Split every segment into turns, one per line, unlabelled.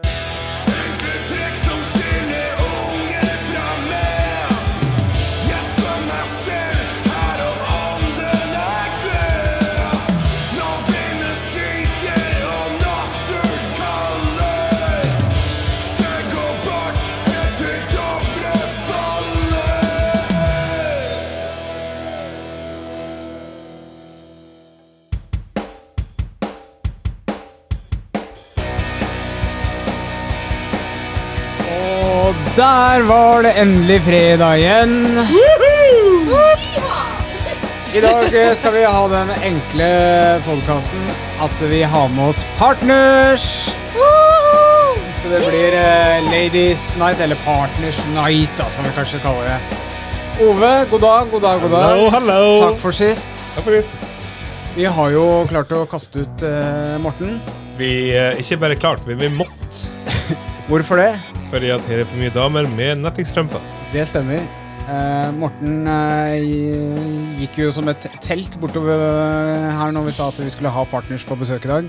Trekk som skiller unge fra meg. Jeg spør meg selv her om ånden er død. Når vinden skriker og natten kaller. Skjegg og bart helt til Dovre faller.
Og der var det endelig fredag igjen. I dag eh, skal vi ha den enkle podkasten at vi har med oss partners. Så det blir eh, Ladies Night, eller Partners Night, da, som vi kanskje kaller det. Ove, god dag, god dag, god dag.
Hallo, hallo.
Takk for sist.
Takk for det.
Vi har jo klart å kaste ut eh, Morten.
Vi eh, ikke bare klart, men vi måtte.
Hvorfor det?
Fordi at her er for mye damer med nettingstrømper.
Det stemmer. Eh, Morten eh, gi- gikk jo som et telt bortover eh, her når vi sa at vi skulle ha partners på besøk i dag.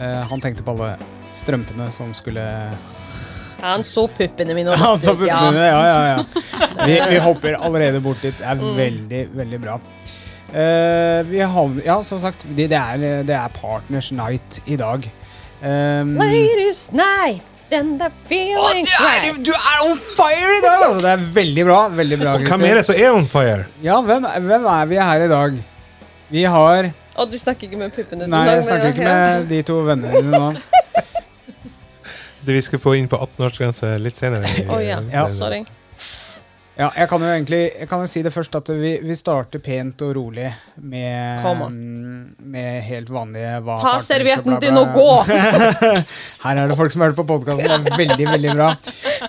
Eh, han tenkte på alle strømpene som skulle
Ja, Han så puppene mine. og
Han så
tenkte, ja.
puppene, ja, ja, ja. Vi, vi hopper allerede bort dit. Det er
Mm.
veldig, veldig bra. Eh, vi har, ja, som sagt, det, det, er, det er Partners Night i dag. Um,
Ladies night, and the feelings right.
du er on fire i dag! Altså, det er veldig bra. veldig bra.
Og hvem
gutter.
er det som er on fire?
Ja, hvem, hvem er vi her i dag? Vi har
Og du snakker ikke med puppene? du
Nei,
snakker
jeg snakker ikke
Ja.
med de to vennene dine nå.
Det vi skal få inn på 18-årsgrense litt senere. Eh, i-
Å ja.
Ja.
Sorry.
Ja, jeg kan jo egentlig jeg kan jo si det først at vi, vi starter pent og rolig med,
Kom
med helt vanlige hva
Ta
partner-
servietten
bla, bla,
din og
bla.
gå!
Her er det folk som hører på podkasten. Det er veldig, veldig bra.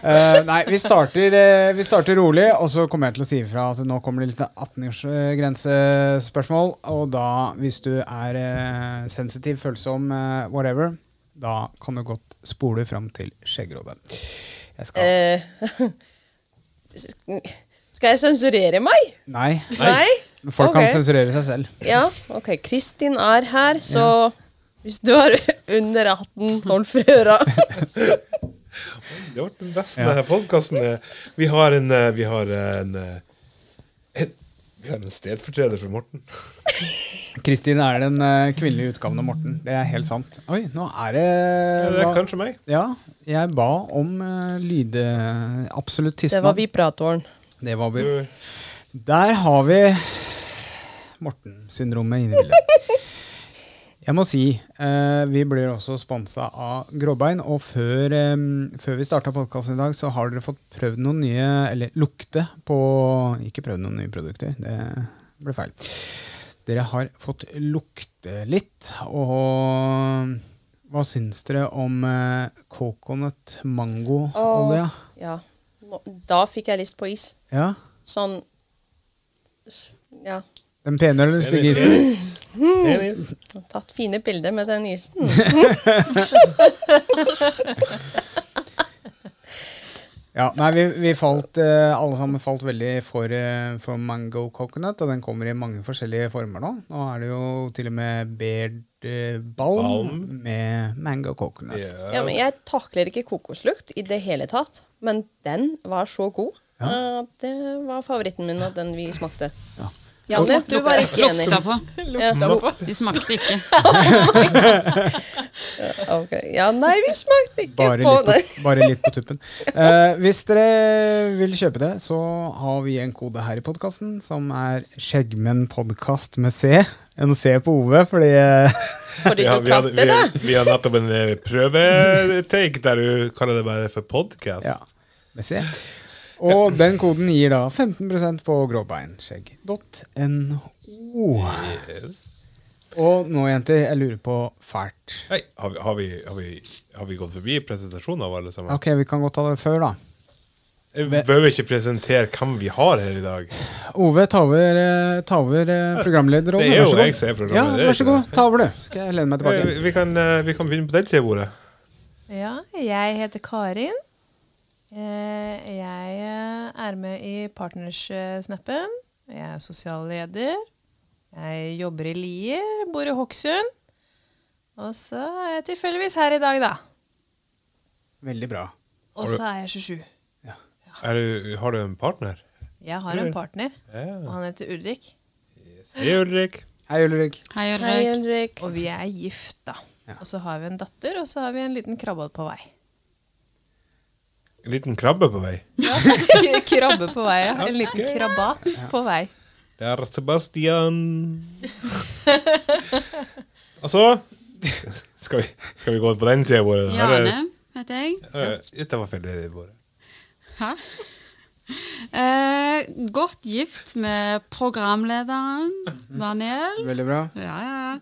Eh, nei, vi starter, eh, vi starter rolig, og så kommer jeg til å si ifra at nå kommer det litt 18-årsgrensespørsmål. Og da, hvis du er eh, sensitiv, følsom, eh, whatever, da kan du godt spole fram til skjeggerådet. Jeg skal
Eh, skal jeg sensurere meg?
Nei.
Nei?
Folk
Ok.
kan sensurere seg selv.
Ja, OK. Kristin er her, så hvis du er under 18, hold for øra.
Det har vært den beste denne podcasten. Vi har en eh, Vi har en, eh, en vi har en stedfortreder for Morten.
Kristin er den eh, kvinnelige utgaven av Morten. Det er helt sant. Oi, nå er det
Ja, det er
hva-
Eh, kanskje meg.
Ja, jeg ba om uh, lydeabsoluttisme.
Det var vi pratoren.
Det var vi.
Du-
Der har vi Morten-syndromet inne i bildet. Jeg må si, eh, vi blir også sponsa av Gråbein, og før, eh, før vi starta podkasten i dag, så har dere fått prøvd noen nye Eller lukte på Ikke prøvd noen nye produkter, det ble feil. Dere har fått lukte litt, og hva syns dere om eh, coconut mango-olja?
Ja. Nå- Da fikk jeg lyst på is.
Ja?
Sånn Ja.
Den pene eller den stygge
En
isen?
is. En is.
Tatt fine bilder med den isen.
Ja, nei, vi, vi falt, eh, alle sammen falt veldig for, eh, for mango coconut, og den kommer i mange forskjellige former nå. Nå er det jo til og med beard eh, balm,
Balm.
med mango coconut.
Ja.
Ja, men jeg takler ikke kokoslukt i det hele tatt, men den var så god. Eh, det var favoritten min, og den vi smakte. Janne, du var ikke enig.
Lukta på.
Ja,
De smakte ikke.
ok. ja, nei, vi smakte ikke
Bare,
på
litt
den.
på, bare litt på tuppen. Eh, hvis dere vil kjøpe det, så har vi en kode her i podkasten som er skjeggmennpodkast med C. En C på OV, fordi eh,
Fordi
Vi har,
du
vi, hadde,
klarte
vi,
det.
vi har nettopp en eh, prøvetake der du kaller det bare for podcast.
Ja. Med C. Og den koden gir da 15 på gråbeinskjegg.no.
Yes.
Og nå, jenter, jeg lurer på fælt.
Hei, har, vi, har, vi, har, vi, har vi gått forbi presentasjonen av alle sammen?
Ok, vi kan godt ta det før, da.
Jeg bør jo ikke presentere hvem vi har her i dag.
Ove, ta over, eh, ta over eh, programlederrollen.
Det er
Vær så
jo
god.
jeg som er programleder,
Ja, vær så
ikke
god. Ta over, du. Skal jeg lene meg
Eh,
tilbake.
Vi, vi, kan, eh, vi kan begynne på den sida av bordet.
Ja, jeg heter Karin. Eh, Jeg eh, er med i Partners-snappen. Jeg er sosial leder. Jeg jobber i Lier, bor i Hokksund. Og så er jeg tilfeldigvis her i dag, da.
Veldig bra.
Og så er jeg 27.
Er du, har du en partner?
Jeg har en partner, og
Ja.
han heter Ulrik.
Hei, Ulrik.
Hei, Ulrik.
Hei,
Hei,
Ulrik.
Ulrik.
Og vi er gift, da. Og så har vi en datter, og så har vi en liten krabbe på vei.
En liten krabbe på vei.
Krabbe på vei, ja. En liten
Ok.
krabat på vei.
Det er Sebastian. Og så skal vi, skal vi gå på den sida vår?
Jane heter jeg.
Eh, Dette var feil. det var-
Hæ? Eh, godt gift med programlederen Daniel.
Veldig bra.
Ja, ja, ja.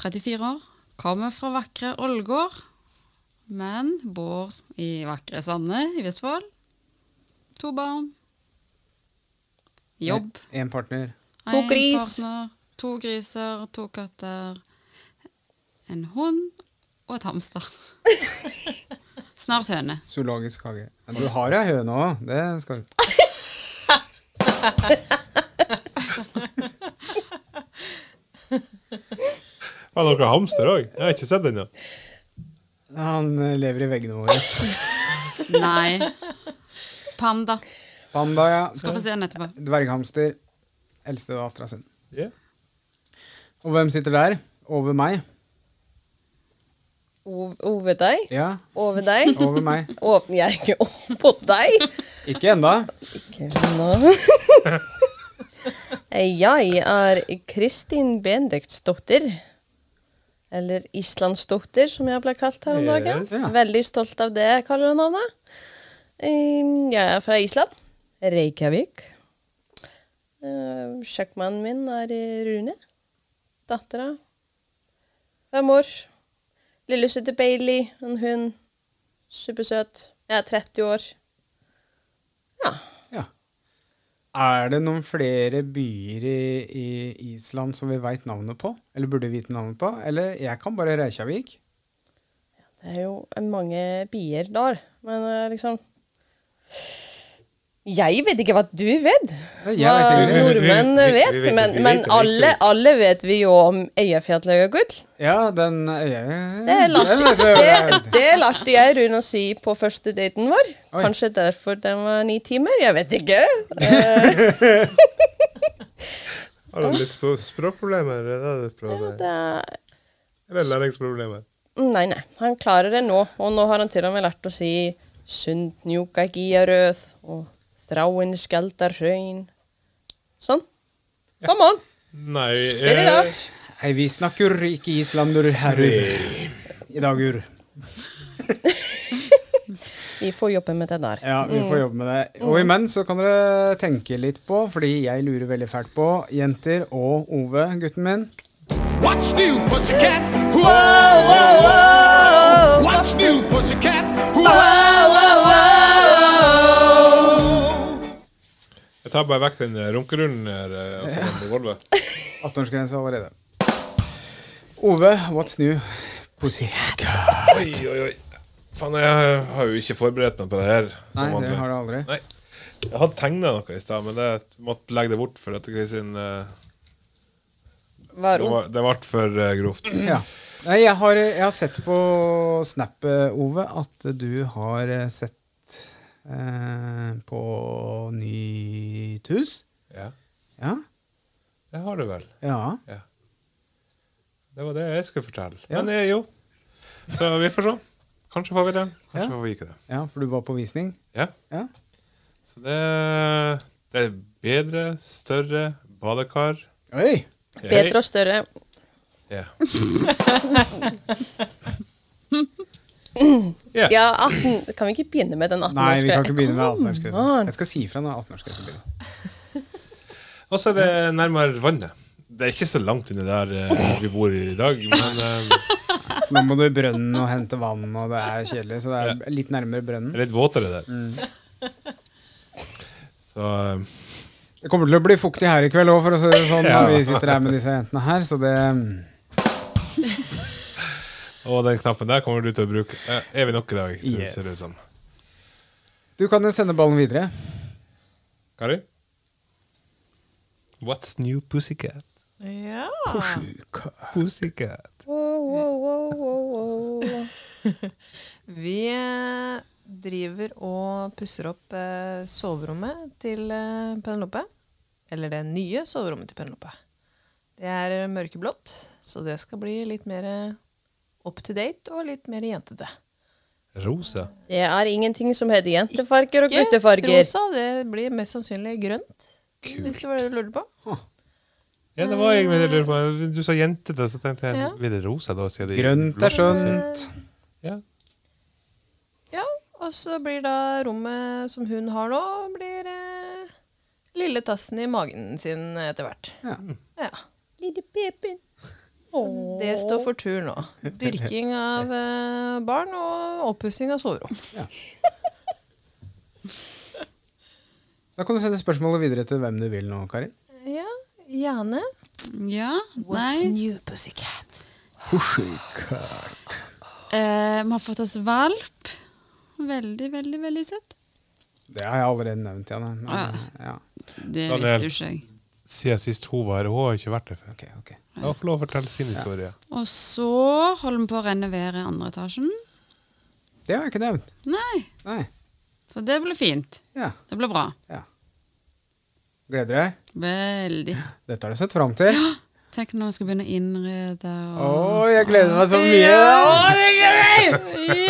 34 år. Kommer fra vakre Ålgård, men bor i vakre Sande i Vestfold. To barn. Jobb.
En partner.
To
En
gris.
partner, To griser, to katter, en hund og et hamster. Snart høne.
Zoologisk hage. Ja, Du har ei høne òg. Det skal du
Var det noe hamster òg? Jeg har ikke sett den ennå.
Han eh, lever i veggene våre.
Nei. Panda.
Panda, ja.
Skal få se den etterpå.
Dverghamster. Eldste dattera sin.
Ja.
Og hvem sitter der? Over meg.
O- Over deg.
Ja,
Over deg.
over meg.
Åpner jeg ikke opp på deg?
Ikke enda.
Ikke nå. Eh, Jeg er Kristin Benediktsdotter. Eller Islandsdotter, som jeg ble kalt her om dagen.
Yes.
Ja.
Veldig stolt av det jeg kaller det navnet. Ehm, Jeg er fra Island. Reykjavik. Ehm, Kjøkkenmannen min er Rune. Dattera. Fem år. Lillesøster Bailey, en hund. Supersøt. Jeg er 30 år.
Ja. Er det noen flere byer i, i Island som vi veit navnet på? Eller burde vite navnet på? Eller jeg kan bare Reykjavik.
Det er jo mange bier der, men eh, liksom Jeg vet ikke hva du vet,
Jeg
hva
vet ikke.
Vi- vi- vi-
nordmenn
vi- vi
vet,
vet-
men,
vi
men
vet- vi
alle,
vet.
alle vet vi jo om Eyjafjallajökull.
Ja, den jeg-
Det
den vet
er lærte
jeg
det,
hvor er.
det lærte jeg Rune å si på første daten vår.
Oi.
Kanskje derfor den var ni timer, jeg vet ikke. Eh,
Har du litt spro- språkproblemer? Er det det du prøver å si?
det er-
Eller læringsproblemer?
Nei, nei, han klarer det nå, og nå har han til og med lært å si Sundnjukagiarøð og Þráinskeldarhraun. Sånn. Kom on!
Nei
Spiller
eh,
rart.
Hei, vi snakker ikke islander her i dag, Ur.
Vi får jobbe med det der.
Ja, vi får jobbe med det. Og imens så kan dere tenke litt på, fordi jeg lurer veldig fælt på, jenter og Ove, gutten min.
What's new, pussycat? Whoa, What's new, pussycat? Whoa,
Jeg tar bare vekk den eh, runkerunden her eh, og så den på gulvet.
18-årsgrense allerede. Ove, what's new? Pussy.
Oi, oi, oi. Faen, jeg har jo ikke forberedt meg på det her. som
Nei, det
vanlig.
har du aldri.
Nei. Jeg hadde tegna noe i stad, men det måtte legge det bort. For at Kristin, eh,
Vær
det,
ung.
var, det ble for eh, grovt.
Ja. Nei, jeg har, jeg har sett på Snap, eh, Ove, at du har eh, sett eh, på nytt hus.
Ja,
Ja.
det har du vel.
Ja.
Ja. Det var det jeg skulle fortelle.
Ja.
Men eh, jo. Så vi får se. Kanskje får vi det. Kanskje
Ja.
får vi ikke det.
ja, for du var på visning.
Ja.
Ja.
Så det, det er bedre, større badekar.
Oi!
Bedre og større.
Ja.
Ja, 18. Kan vi ikke begynne med den 18
Nei, vi kan ikke begynne med
Come
18-årsgrensen.
on.
Jeg skal si ifra når 18-årsgrensen begynner.
Og så er det nærmere vannet. Det er ikke så langt under der eh, vi bor i dag, men eh,
Nå må du i brønnen og hente vann, og det er kjedelig. Så det er litt nærmere
det
brønnen.
er litt våtere der. Så eh,
Det kommer til å bli fuktig her i kveld òg, for å si det sånn. Når vi sitter her med disse jentene her, så det
Og den knappen der kommer du til å bruke. Eh, Er vi nok i dag? Yes. Ser det
Yes.
ut som.
Du kan jo sende ballen videre.
Kari? What's new pussycat?
Ja.
Pussycat.
Wow, wow, wow, wow, wow.
Vi eh, driver og pusser opp eh, soverommet til eh, Penelope. Eller det nye soverommet til Penelope. Det er eh, mørkeblått, så det skal bli litt mer eh, up to date og litt mer jentete.
Rosa.
Det er ingenting som heter jentefarger og guttefarger.
Rosa, det blir mest sannsynlig grønt. Hvis det var det du lurte på.
Ja, det var jeg egentlig lurer på. Du sa jentete, så tenkte jeg
Ja.
blir det rosa da? siden det
Grønt er
blått?
skjønt.
Ja.
Ja, og så blir da rommet som hun har nå, blir eh, lille tassen i magen sin etter hvert.
Ja.
Ja. Så det står for tur nå. Dyrking av eh, barn og oppussing av soverom.
Da kan du sende spørsmålet videre til hvem du vil nå, Karin.
Ja, gjerne.
Ja, nei.
new, pussycat?
Eh, vi har fått oss valp. Veldig, veldig, veldig søtt.
Det har jeg allerede nevnt, Janne. Men,
Ah,
ja.
Det
Daniel.
visste jo ikke jeg.
Siden sist hun var her, og hun har ikke vært her før.
Ok, ok.
La henne få lov å fortelle sin historie.
Og så holder vi på å renovere andre etasjen.
Det har jeg ikke nevnt.
Nei,
Nei.
så det blir fint.
Ja.
Det blir bra.
ja. Gleder deg?
Veldig.
Dette har du sett fram til.
Tenk når vi skal begynne å innrede
Å,
og
jeg gleder meg så mye! Å, det gleder jeg!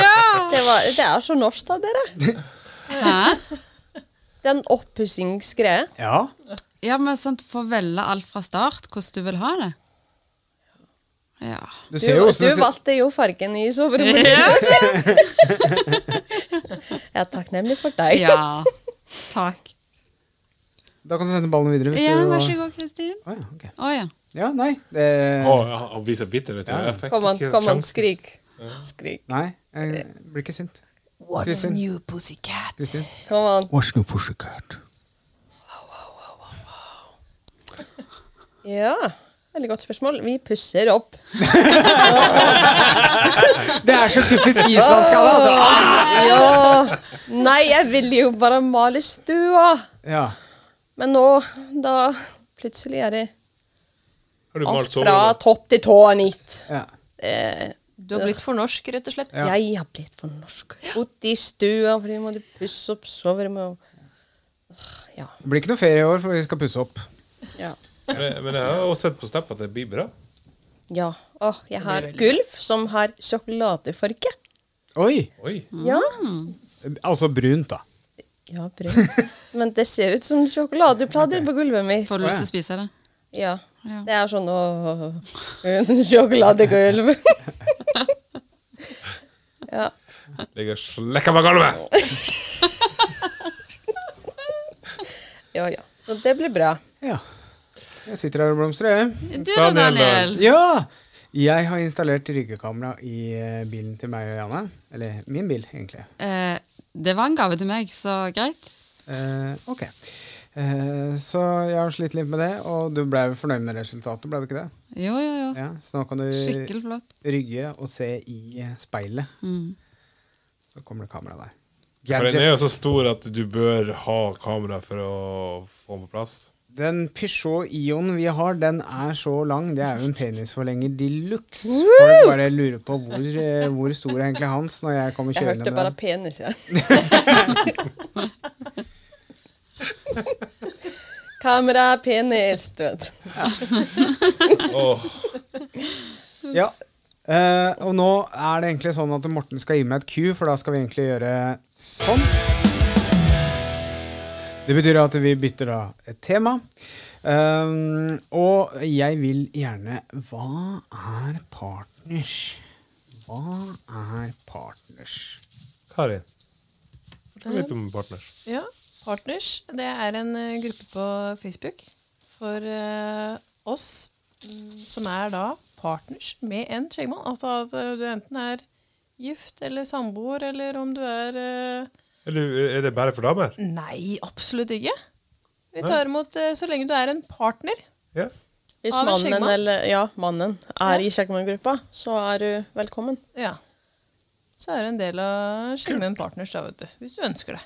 Det, var, det er så norsk av dere.
Hæ?
Det er en oppussingsgreie.
Ja.
Ja, men sant, får velge alt fra start, hvordan du vil ha det. Ja.
Du
Du,
ser jo
du
åssen det
valgte jo fargen i soverommet. Jeg er takknemlig for deg.
ja. Takk.
Da kan du sende ballen videre. Hvis
Ja,
du...
vær så god, Kristin.
Å, ja, ok.
Å ja.
ja, nei. Det...
Å, ja, han viser bitterhet. Ja. Jeg fikk
Kom an,
ikke
kom an,
sjansen.
skrik. Skrik.
Nei, jeg blir ikke sint.
What's
Kristin.
new, pussycat?
Kristin.
Kom an.
What's new pussycat?
Ja, veldig godt spørsmål. Vi pusser opp.
Det er så typisk islandsk, alle, altså.
Ja. Nei, jeg ville jo bare male stua.
Ja.
Men nå, da plutselig er det
Har du malt
alt fra
soverommet?
topp til tå nytt.
ja.
Eh,
Du har blitt for norsk, rett og slett.
Jeg har blitt for norsk. Bodd i stua fordi jeg måtte pusse opp soverommet. og- Åh, Ja.
Det blir ikke noe ferie i år, for vi skal pusse opp.
ja.
Men, men jeg har også sett på Snap at det blir bra.
Ja. Åh, jeg har gulv som har sjokoladefarge.
Oi!
Oi.
Ja.
Altså brunt, da.
ja, brunt. Men det ser ut som sjokoladeplater på gulvet mitt.
Får du lyst til å spise det?
Ja.
Ja.
Det er sånn åh, en sjokoladegulv. ja.
Ligger og slekker på gulvet!
ja, ja. Så det blir bra.
Ja. Jeg sitter her og blomstrer, jeg.
Du da, Daniel.
Ja! Jeg har installert ryggekamera i eh, bilen til meg og Janne. Eller min bil, egentlig.
Eh, det var en gave til meg, så greit.
Eh, ok. Eh, så jeg har slitt litt med det, og du ble jo fornøyd med resultatet, ble du ikke det?
Jo, jo, jo.
Ja, så nå kan du
Skikkelig flott.
rygge og se i eh, speilet.
Mm.
Så kommer det kamera der.
For den er jo så
Gadgets.
stor at du bør ha kamera for å få den på plass.
Den Peugeot Ion vi har, den er så lang. Det er jo en penisforlenger de luxe. Folk bare lurer på hvor, eh, hvor stor er egentlig hans når jeg kommer
Jeg
kjørende
hørte
med
bare
den.
penis, jeg. Kamera, penis, du vet.
Åh,
Ja. Eh, og nå er det egentlig sånn at Morten skal gi meg et Q, for da skal vi egentlig gjøre sånn. Det betyr at vi bytter da et tema. Um, og jeg vil gjerne Hva er partners? Hva er partners?
Karin, fortell litt om partners.
Ja, Partners det er en eh, gruppe på Facebook for eh, oss mm, som er da partners med en skjeggmann. Altså at eh, du enten er gift eller samboer, eller om du er eh,
Eller er det bare for damer?
Nei, absolutt ikke. Vi
Nei.
tar imot eh, så lenge du er en partner.
Ja.
Hvis
Av en
mannen,
skjeggmann?
eller, ja, mannen er i skjeggmanngruppa, så er du velkommen.
Ja. Så er du en del av Skjeggmenn Partners, da, vet du. Hvis du ønsker det.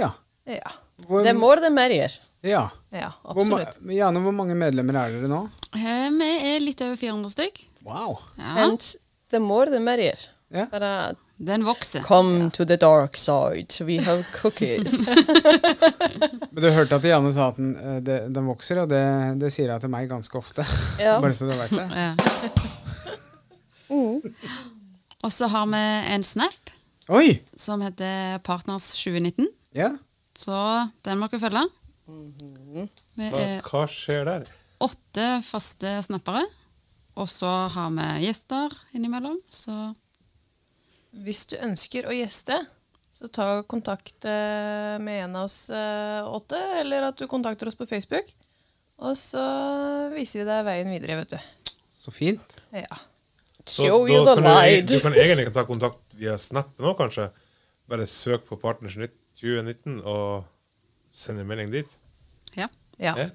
Ja.
Ja.
Hvor,
Det er more the merrier.
ja.
ja
Hvor, ma-
absolutt.
Jane, hvor mange medlemmer er dere nå?
Eh, Vi er litt over 400 stykk.
Wow.
Ja.
And the more the merrier.
Ja.
Bare
Den vokser.
come to the dark side, we have cookies.
Men du hørte at Jane sa at den, eh, det- den vokser, og det, det sier jeg til meg ganske ofte.
ja.
Bare så du vet det.
Ja. Og så har vi en snap
Oi!
som heter Partners 2019.
Ja.
Så den må dere følge. Vi
Hva,
Eh,
er
hva skjer der?
åtte faste snappere. Og så har vi gjester innimellom. Så
Hvis du ønsker å gjeste, så ta kontakt eh, med en av oss eh, åtte, eller at du kontakter oss på Facebook. Og så viser vi deg veien videre, vet du.
Så fint.
Ja.
Så
Show
da
you the
kan du, e-
light.
du kan egentlig ta kontakt via Snap nå, kanskje. Bare søk på Partners Nytt 2019 og send en melding dit.
ja.
ja.
Eh?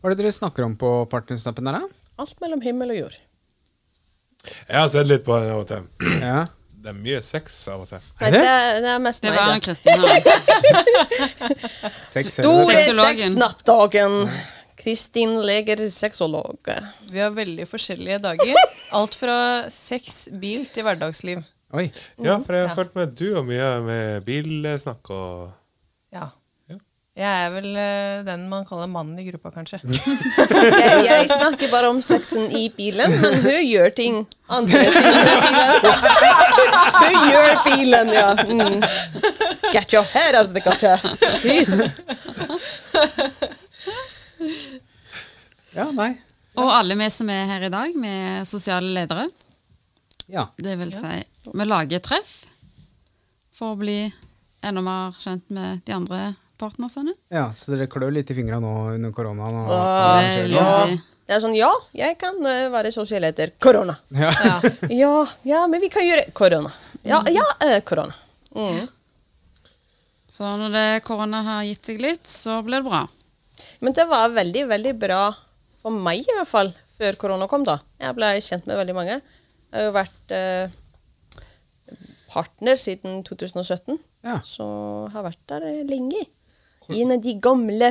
Hva er det dere snakker om på partnersnappen her, da?
Alt mellom himmel og jord.
Jeg har sett litt på den av og til.
Ja.
Det er mye sex av og til.
Nei,
det?
det, er- det er mest
Det
meg,
var
det.
Kristin her.
Sex,
Store
Sexologen.
sexnappdagen. Kristin Leger, sexolog.
Vi har veldig forskjellige dager. Alt fra sex, bil til hverdagsliv.
Oi.
Ja, for jeg har
Ja.
fulgt med du og mye med bilsnakk og
Ja.
Ja.
Jeg er vel eh, den man kaller mannen i gruppa, kanskje.
Jeg, jeg snakker bare om sexen i bilen, men hun gjør ting andre ting i bilen. Hun gjør bilen, ja. Mm. Get your head out of the gutter. Please.
Ja, nei.
Og alle vi som er her i dag, vi er sosiale ledere.
Ja.
Det vil si, vi lager treff for å bli enda mer kjent med de andre partnersene.
ja. Så dere klør litt i fingra nå under koronaen? Og,
Ja.
Veldig.
Det er sånn, ja, jeg kan eh, være sosial etter korona.
Ja.
Ja, ja, men vi kan gjøre korona. Ja, ja, eh, korona. Mm.
Så når det, korona har gitt seg litt, så blir det bra.
Men det var veldig, veldig bra for meg i hvert fall, før korona kom da. Jeg ble kjent med veldig mange. Jeg har jo vært eh, partner siden 2017,
Ja.
så jeg har vært der eh, lenge. En av de gamle,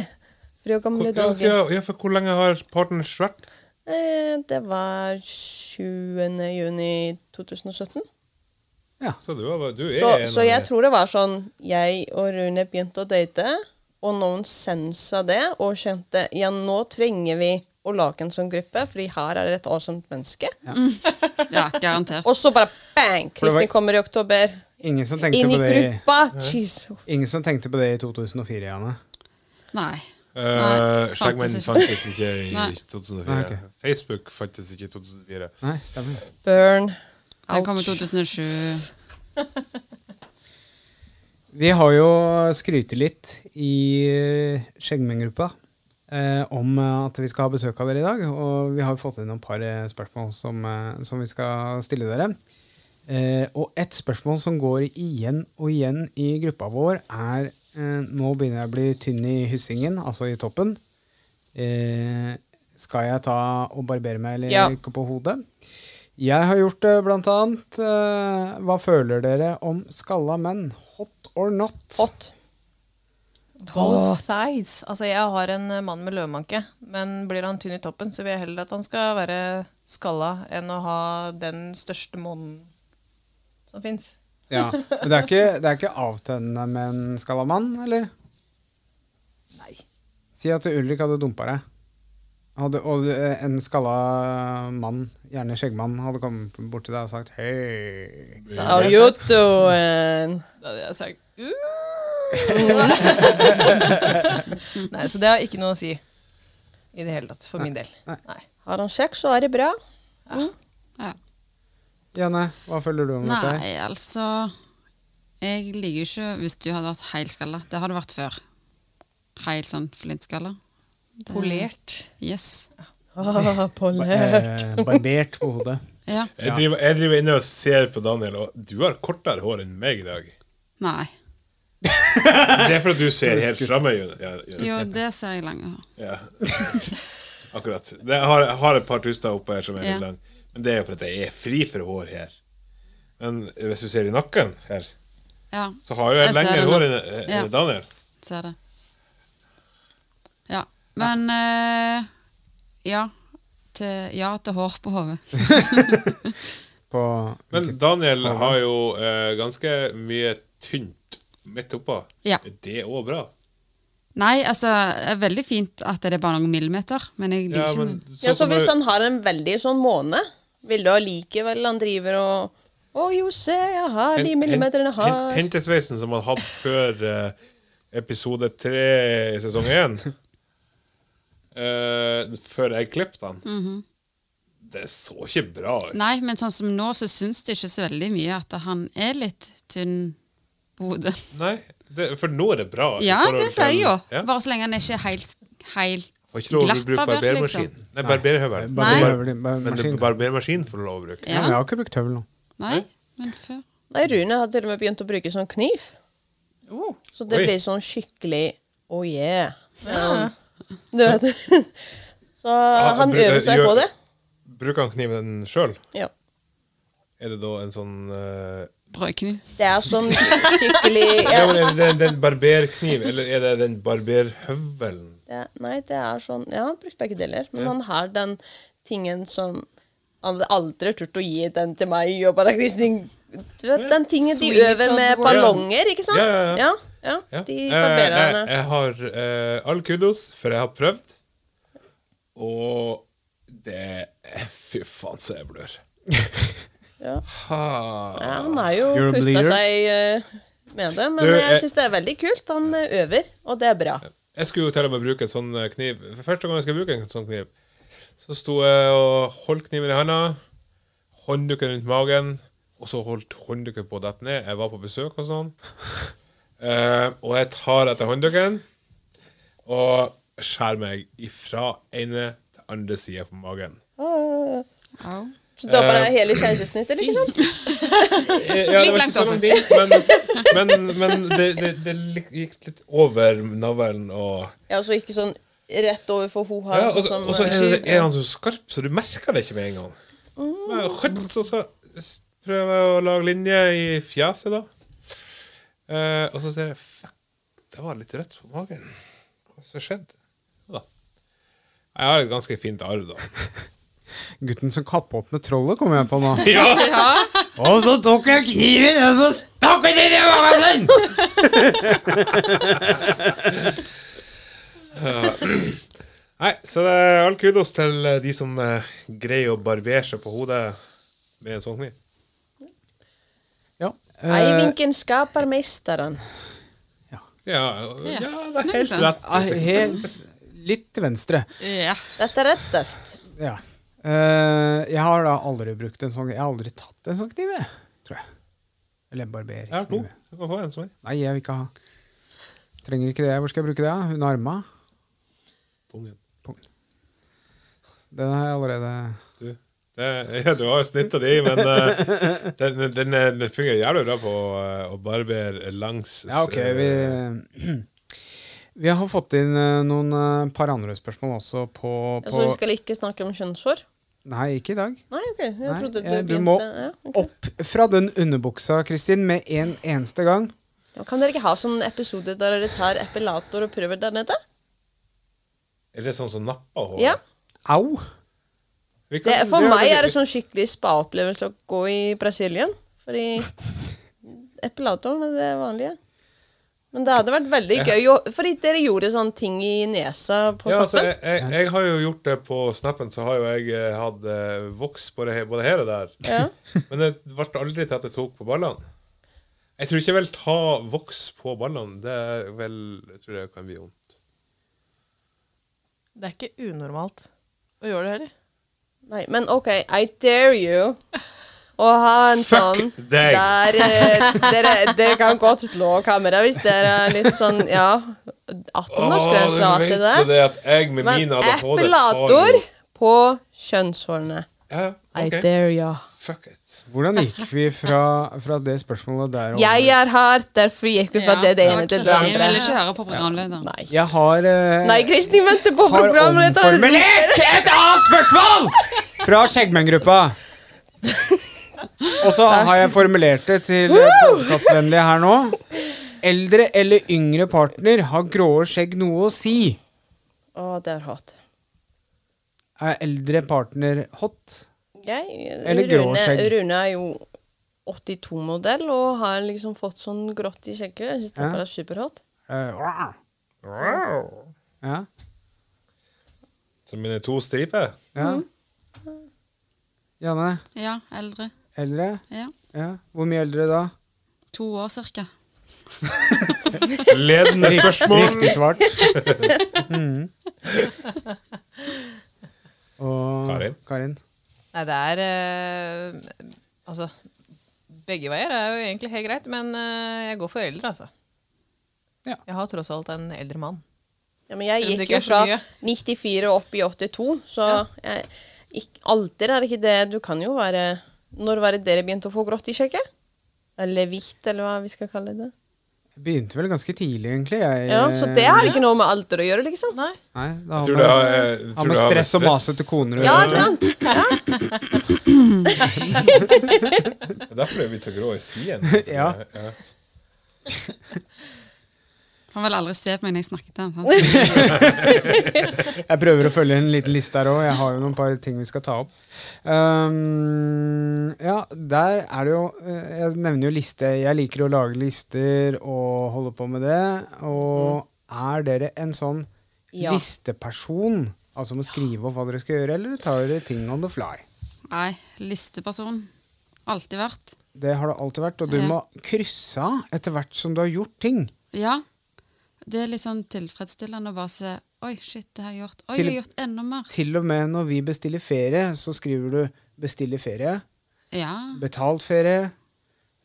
fra gamle
Hvor- ja, for
dager.
ja, ja, for hvor lenge har Partners vært?
Eh, det var 20. juni 2017.
Så du, er- du er
Så,
en
så
av
jeg
de-
tror det var sånn Jeg og Rune begynte å date, og noen sensa det og kjente ja, nå trenger vi å lage en sånn gruppe, fordi her er det et awesome menneske.
Ja, garantert.
Og så bare bang!
det var-
Kristin kommer i oktober.
Ingen, som tenkte
Inn i
på det, i-
gruppa! Jeez.
ingen som tenkte på det i 2004, Jane?
Nei.
Eh,
Nei,
Slagmenn
fantes ikke.
fantes ikke i
Nei.
2004.
Nei, ok.
Facebook fantes ikke i 2004.
Nei, stemmer.
Burn.
Den kom i
Ouch.
2007.
Vi har jo skrytt litt i Skjeggmenn-gruppa eh, om at vi skal ha besøk av dere i dag. Og vi har jo fått inn noen par eh, spørsmål som, eh, som vi skal stille dere. Eh, og ett spørsmål som går igjen og igjen i gruppa vår, er eh, Nå begynner jeg å bli tynn i hyssingen, altså i toppen. Eh, skal jeg ta og barbere meg eller
Ja.
ikke på hodet? Jeg har gjort det, blant annet. eh, Hva føler dere om skalla menn? Hot or not?
Hot.
Both sides. Altså, jeg har en eh, mann med løvemanke, men blir han tynn i toppen, så vil jeg heller at han skal være skalla enn å ha den største månen som fins.
Ja. Men det er ikke, det er ikke avtønnende med en skalla mann, eller?
Nei.
Si at Ulrik hadde dumpa deg. Hadde, og eh, en skalla mann, gjerne skjeggmann, hadde kommet bort til deg og sagt hei.
How you doing?
Da hadde jeg sagt «Uh!» Nei, så det har ikke noe å si i det hele tatt, for min del.
Nei.
Nei.
Har han sex, så er det bra.
Ja.
Janne, hva føler du om dette?
Nei, altså Jeg liker jo ikke hvis du hadde vært heilskalla. Det har du vært før. Heil sånn flintskalla. Det-
Polert.
Yes.
Ah, polert.
Eh, barbert på hodet.
Ja.
Jeg driver, jeg driver inne og ser på Daniel, og du har kortere hår enn meg i dag.
Nei.
Det er fordi du ser helt framme.
Jo, det ser jeg langt her.
Ja. Akkurat. Det, jeg, har, jeg har et par tuster oppe her som er
Ja.
litt lang, men det er jo fordi jeg er fri for hår her. Men hvis du ser i nakken her,
Ja.
så har jo jeg,
Jeg ser
lengre
det nå.
hår enn enn
Ja.
Daniel.
ser det. Ja. Men eh, ja, til, ja til hår på hodet.
På,
Men Daniel har jo eh, ganske mye tynt midt oppå.
Ja.
Det er òg bra.
Nei, altså, det er veldig fint at det er bare noen millimeter, men jeg liker
Ja,
ikke
men
det.
sånn
Ja, så
som
hvis
jeg-
han har en veldig sånn måne, vil du allikevel han driver og Å jo, se, jeg har de
Hen-
millimeterne jeg
hen-
har.
hen- Hentesveisen som han hadde før eh, episode tre i sesong én. eh, før jeg klippet den. Det så ikke bra ut.
Mhm. Nei, men sånn som nå, så syns det ikke så veldig mye at han er litt tynn på hodet.
Nei, det, for nå er det bra. i
Ja,
forhold
det sier jeg jo.
til- Ja.
Bare så lenge han ikke er helt, helt
Får ikke lov å
glatt
bruke
barbert,
barbermaskin.
liksom.
Nei, barberhøvel.
Nei.
barberhøvel, barbermaskin.
Men det- barbermaskin får du lov å bruke.
ja,
ja.
men jeg har ikke brukt høvel nå.
Nei, men før
Nei, Rune har til og med begynt å bruke sånn kniv.
Oh.
Så det
Oi.
blir sånn skikkelig oh yeah. Ja. Du vet det. Så han
bru-
øver seg
gjør-
på det.
Bruker han kniven sjøl?
Ja.
Er det da en sånn eh,
brødkniv.
Det er sånn skikkelig
ja,
ja.
men Er det den, den barberkniv, eller er det den barberhøvelen?
det er- Nei, det er sånn Ja, han har brukt begge deler. Men han har den tingen som Han hadde aldri turt å gi den til meg og bare Kristin Du vet den tingen de
Sweet
øver med
Todd Warren.
ballonger, ikke sant?
Ja, ja, ja.
ja, ja, De
Eh, jeg,
barbererne.
jeg har eh, all kudos, for jeg har prøvd. Og det Fy faen, så jeg blør.
Ja.
Ha.
Ja, han har jo
You're a
putta
bleeder.
seg eh, med det,
Du,
men jeg
eh,
syns det er veldig kult. Han eh, øver, og det er bra.
Jeg skulle jo til og med bruke en sånn eh, kniv. For første gang jeg skulle bruke en sånn kniv, så sto jeg og holdt kniven i handa, håndduken rundt magen, og så holdt håndduken på å dette ned. Jeg var på besøk og sånn. Eh, og jeg tar etter håndduken og skjærer meg ifra ene til andre sida på magen.
Au.
Så da bare hele liksom. keisersnittet, ikke sant?
Eh, ja, det var
Litt
ikke
langt
så lang tid, men, men, men det, det, det lik- gikk litt over navlen og
Ja, så ikke sånn rett overfor ho har
Ja, og så
sånn som,
og så
eh,
er, det- er han så skarp, så du merker det ikke med en gang.
Mm.
Men skjøtt, så, så s- prøver jeg å lage linje i fjeset, da. Eh, og så ser jeg Fuck, det var litt rødt på magen. Hva som skjedde? Ja, da. Jeg har et ganske fint arv, da.
Gutten som kappa opp med trollet, kommer jeg på nå. Og så tok jeg kniven, og så stakk jeg den i magen!
Nei, Så det er all kudos til eh, de som eh, greier å barbere seg på hodet med en sånn kniv.
Ja, eh,
Eivinken skaper mesteren.
Ja, ja, det er
Noe
helt
sånt.
rett.
ah, helt litt til venstre.
Ja.
Dette er rettest.
Ja. Eh, jeg har da aldri brukt en sånn Jeg har aldri tatt en sånn kniv, jeg. Tror jeg. Eller en
Jeg har to.
barberkniv.
Du kan få en som er.
Nei, jeg vil ikke ha. Trenger ikke det. Hvor skal jeg bruke det? da? Under arma?
Pungen.
Den har jeg allerede
Du, det, ja, du har jo snittet de, men eh, den, den, den fungerer jævlig bra på eh, å barbere langs eh,
Ja, ok, vi eh, Vi har fått inn eh, noen eh, par andre spørsmål også på,
Ja,
på
så Altså, vi skal ikke snakke om kjønnshår?
Nei, ikke i dag.
Nei, ok. Jeg
Nei,
trodde du
eh,
begynte
du må
ja, ok.
opp fra den underbuksa, Kristin, med en eneste gang.
ja, Kan dere ikke ha sånn episode der dere tar epilator og prøver der nede?
Er det sånn som napper hår?
Ja.
Au!
Vi kan-
Det, for
vi-
meg
vi-
er det sånn skikkelig spa-opplevelse å gå i Brasilien. Fordi epilatoren er det vanlige. Men det hadde vært veldig gøy. å- Fordi dere gjorde sånne ting i nesa på
ja, altså,
snappen.
jeg, jeg, jeg har jo gjort det på snappen, så har jo jeg eh, hatt eh, voks både, he- både her og der.
Ja.
Men det ble aldri til at jeg tok på ballene. Jeg tror ikke jeg vil ta voks på ballene. Det er vel, jeg tror det kan bli vondt.
Det er ikke unormalt å gjøre det heller.
Nei, men OK, I dare you å ha en
Fuck
sånn
deg.
der eh, dere, dere kan godt slå kameraet hvis dere er litt sånn Ja,
Åh,
18-årsgrensa
du
og alt det
vet jo
der.
det at jeg med
Men
mine ADHD tar
epilator
jo-
på kjønnshårene.
Ja,
I
ok.
dare you.
Fuck it.
Hvordan gikk vi fra, fra det spørsmålet der og
Jeg er her, derfor gikk vi fra
Ja,
det, det
var
ene til det
Kristin
andre.
ville ikke høre på programlederen.
Nei.
Jeg har eh,
Nei, Kristin venter på
har
programlederen.
omformulert et annet spørsmål fra Skjeggmenn-gruppa. Og så har jeg formulert det til podkastvennlige her eh, nå. Eldre eller yngre partner har gråe skjegg noe å si.
Å, det er hot.
Er eldre partner hot?
Jeg,
Eller grå
Rune,
skjegg.
Rune er jo 82-modell og har liksom fått sånn grått i skjegget. Jeg syns det
Ja.
bare er superhot.
Eh, ja.
Som mine to striper.
ja.
Mm.
Janne,
Ja, eldre.
eldre?
Ja.
Ja. Hvor mye eldre da?
To år cirka.
Ledende spørsmål.
Riktig svart. Mhm. Og
Karin?
Karin.
Nei, det er eh, Altså, begge veier er jo egentlig helt greit, men eh, jeg går for eldre, altså.
Ja.
Jeg har tross alt en eldre mann.
Ja, men jeg
Men det
gikk jo
ikke er så
fra
mye.
94 og opp i 82, så jeg, ikk, alder er ikke det Du kan jo være Når var det dere begynte å få grått i skjegget? Eller hvitt, eller hva vi skal kalle det.
Jeg begynte vel ganske tidlig, egentlig. Jeg,
Ja, Så det
Eh,
har ikke noe med alder å gjøre, liksom.
Nei.
Nei, det
Jeg
har
tror
med,
det har, jeg
har
tror
med
det har
stress og masete koner å
Ja,
gjøre.
ikke sant?
Det er derfor du er blitt så grå i siden.
Ja.
ja.
Han vil aldri se på meg når jeg snakker til ham. sant?
Jeg prøver å følge en liten liste her òg. Jeg har jo noen par ting vi skal ta opp. Ehm, ja, der er det jo eh, Jeg nevner jo liste. Jeg liker å lage lister og holde på med det. Og er dere en sånn
Ja.
listeperson? Altså med å skrive opp hva dere skal gjøre, eller tar dere ting on the fly?
Nei, listeperson. Alltid vært.
Det har det alltid vært, og du
Ja.
må krysse av etter hvert som du har gjort ting.
Ja. Det er litt sånn tilfredsstillende å bare se Oi, shit, det har jeg gjort. Oi,
Til-
jeg har gjort enda mer.
Til og med når vi bestiller ferie, så skriver du 'bestiller ferie',
Ja.
'betalt ferie',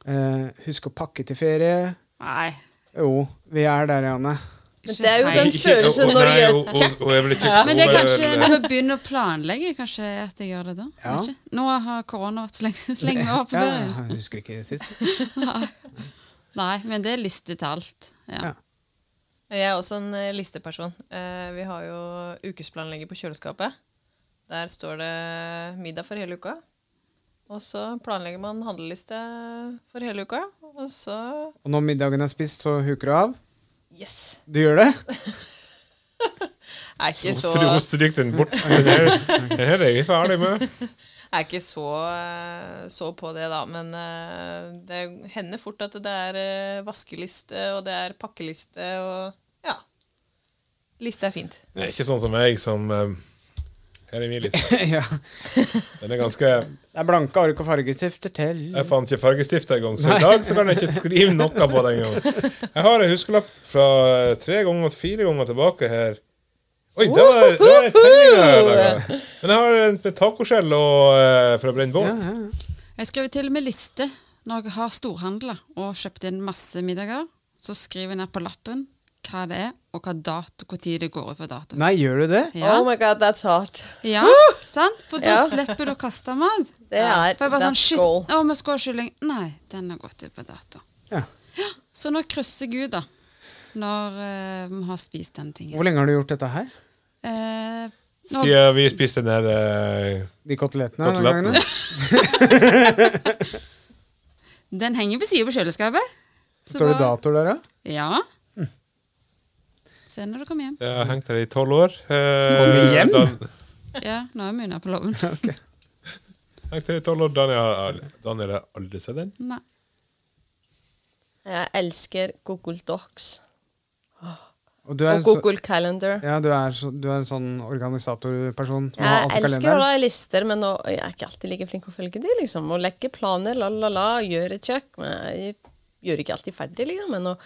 eh, 'husk å pakke til ferie'.
Nei.
Jo, vi er der, Janne.
Men det er jo den
helt.
følelsen når du
Nei,
gjør
hun- hun- hun er vel ikke-
Men det er
hun er
kanskje
vel-
når vi begynner å planlegge, kanskje at jeg gjør det da.
Ja.
Vet ikke. Nå har korona vært så lenge, så lenge vi var på
Ja,
ferie.
jeg husker ikke sist.
Nei, men det er liste til alt. Ja.
Ja.
Jeg er også en eh, listeperson. Eh, Vi har jo ukesplanlegger på kjøleskapet. Der står det middag for hele uka. Og så planlegger man handleliste for hele uka. Og så
Og når middagen er spist, så huker du av.
Yes!
Du gjør det?
Er ikke så,
Hun stryker den bort. Den her- den her er jeg ferdig med.
er ikke så, eh, så på det, da. Men eh, det hender fort at det er eh, vaskeliste, og det er pakkeliste, og ja. Liste er fint.
Det er ikke sånn som jeg, som eh, Her er min liste.
ja.
Den er ganske Jeg
Det er blanke ark og fargestifter til.
fant ikke fargestift engang, så i dag så kan jeg ikke skrive noe på den engang. Jeg har en huskelapp fra eh, tre ganger, fire ganger tilbake her. Oi, det var, det var en tegning jeg laga. Men jeg har en med tacoskjell og eh, for å brenne bål.
Jeg skriver til og med liste når jeg har storhandla og kjøpt inn masse middager. Så skriver jeg ned på lappen hva det er, og hva dato, hvor tid det går ut på dato.
Nei, gjør du det?
Ja,
Oh my god, that's hot.
ja sant? For da
Ja.
slipper du å kaste mat.
Det er
For jeg bare sånn,
that's
shit,
goal.
å, vi skal ha kylling. Nei, den har gått ut på dato.
Ja.
Så nå krysser Gud, da. Når eh, vi har spist den tingen.
Hvor lenge har du gjort dette her?
Eh, nå,
Siden vi spiste den der eh,
De kotelettene? den
koteletten.
gangen?
den henger på sida på kjøleskapet. Så
Står det
bare-
datoer der, da?
Ja. Se når du kommer hjem.
Jeg har hengt her i tolv år. Eh,
Kom du hjem?
Dan,
Ja, nå er vi unna på loven.
hengt her i 12 år. Daniel har Daniel har aldri sett den.
Nei.
Jeg elsker Google Docs
Og du er,
og
så,
Google Calendar.
ja, du er, så, du er en sånn organisatorperson? som har alt i
Jeg elsker å
kalenderen.
lage lister, men nå, jeg er ikke alltid like flink å følge de, liksom. Å legge planer, la, la, la, gjøre check. Men jeg gjør ikke alltid ferdig, liksom. Men å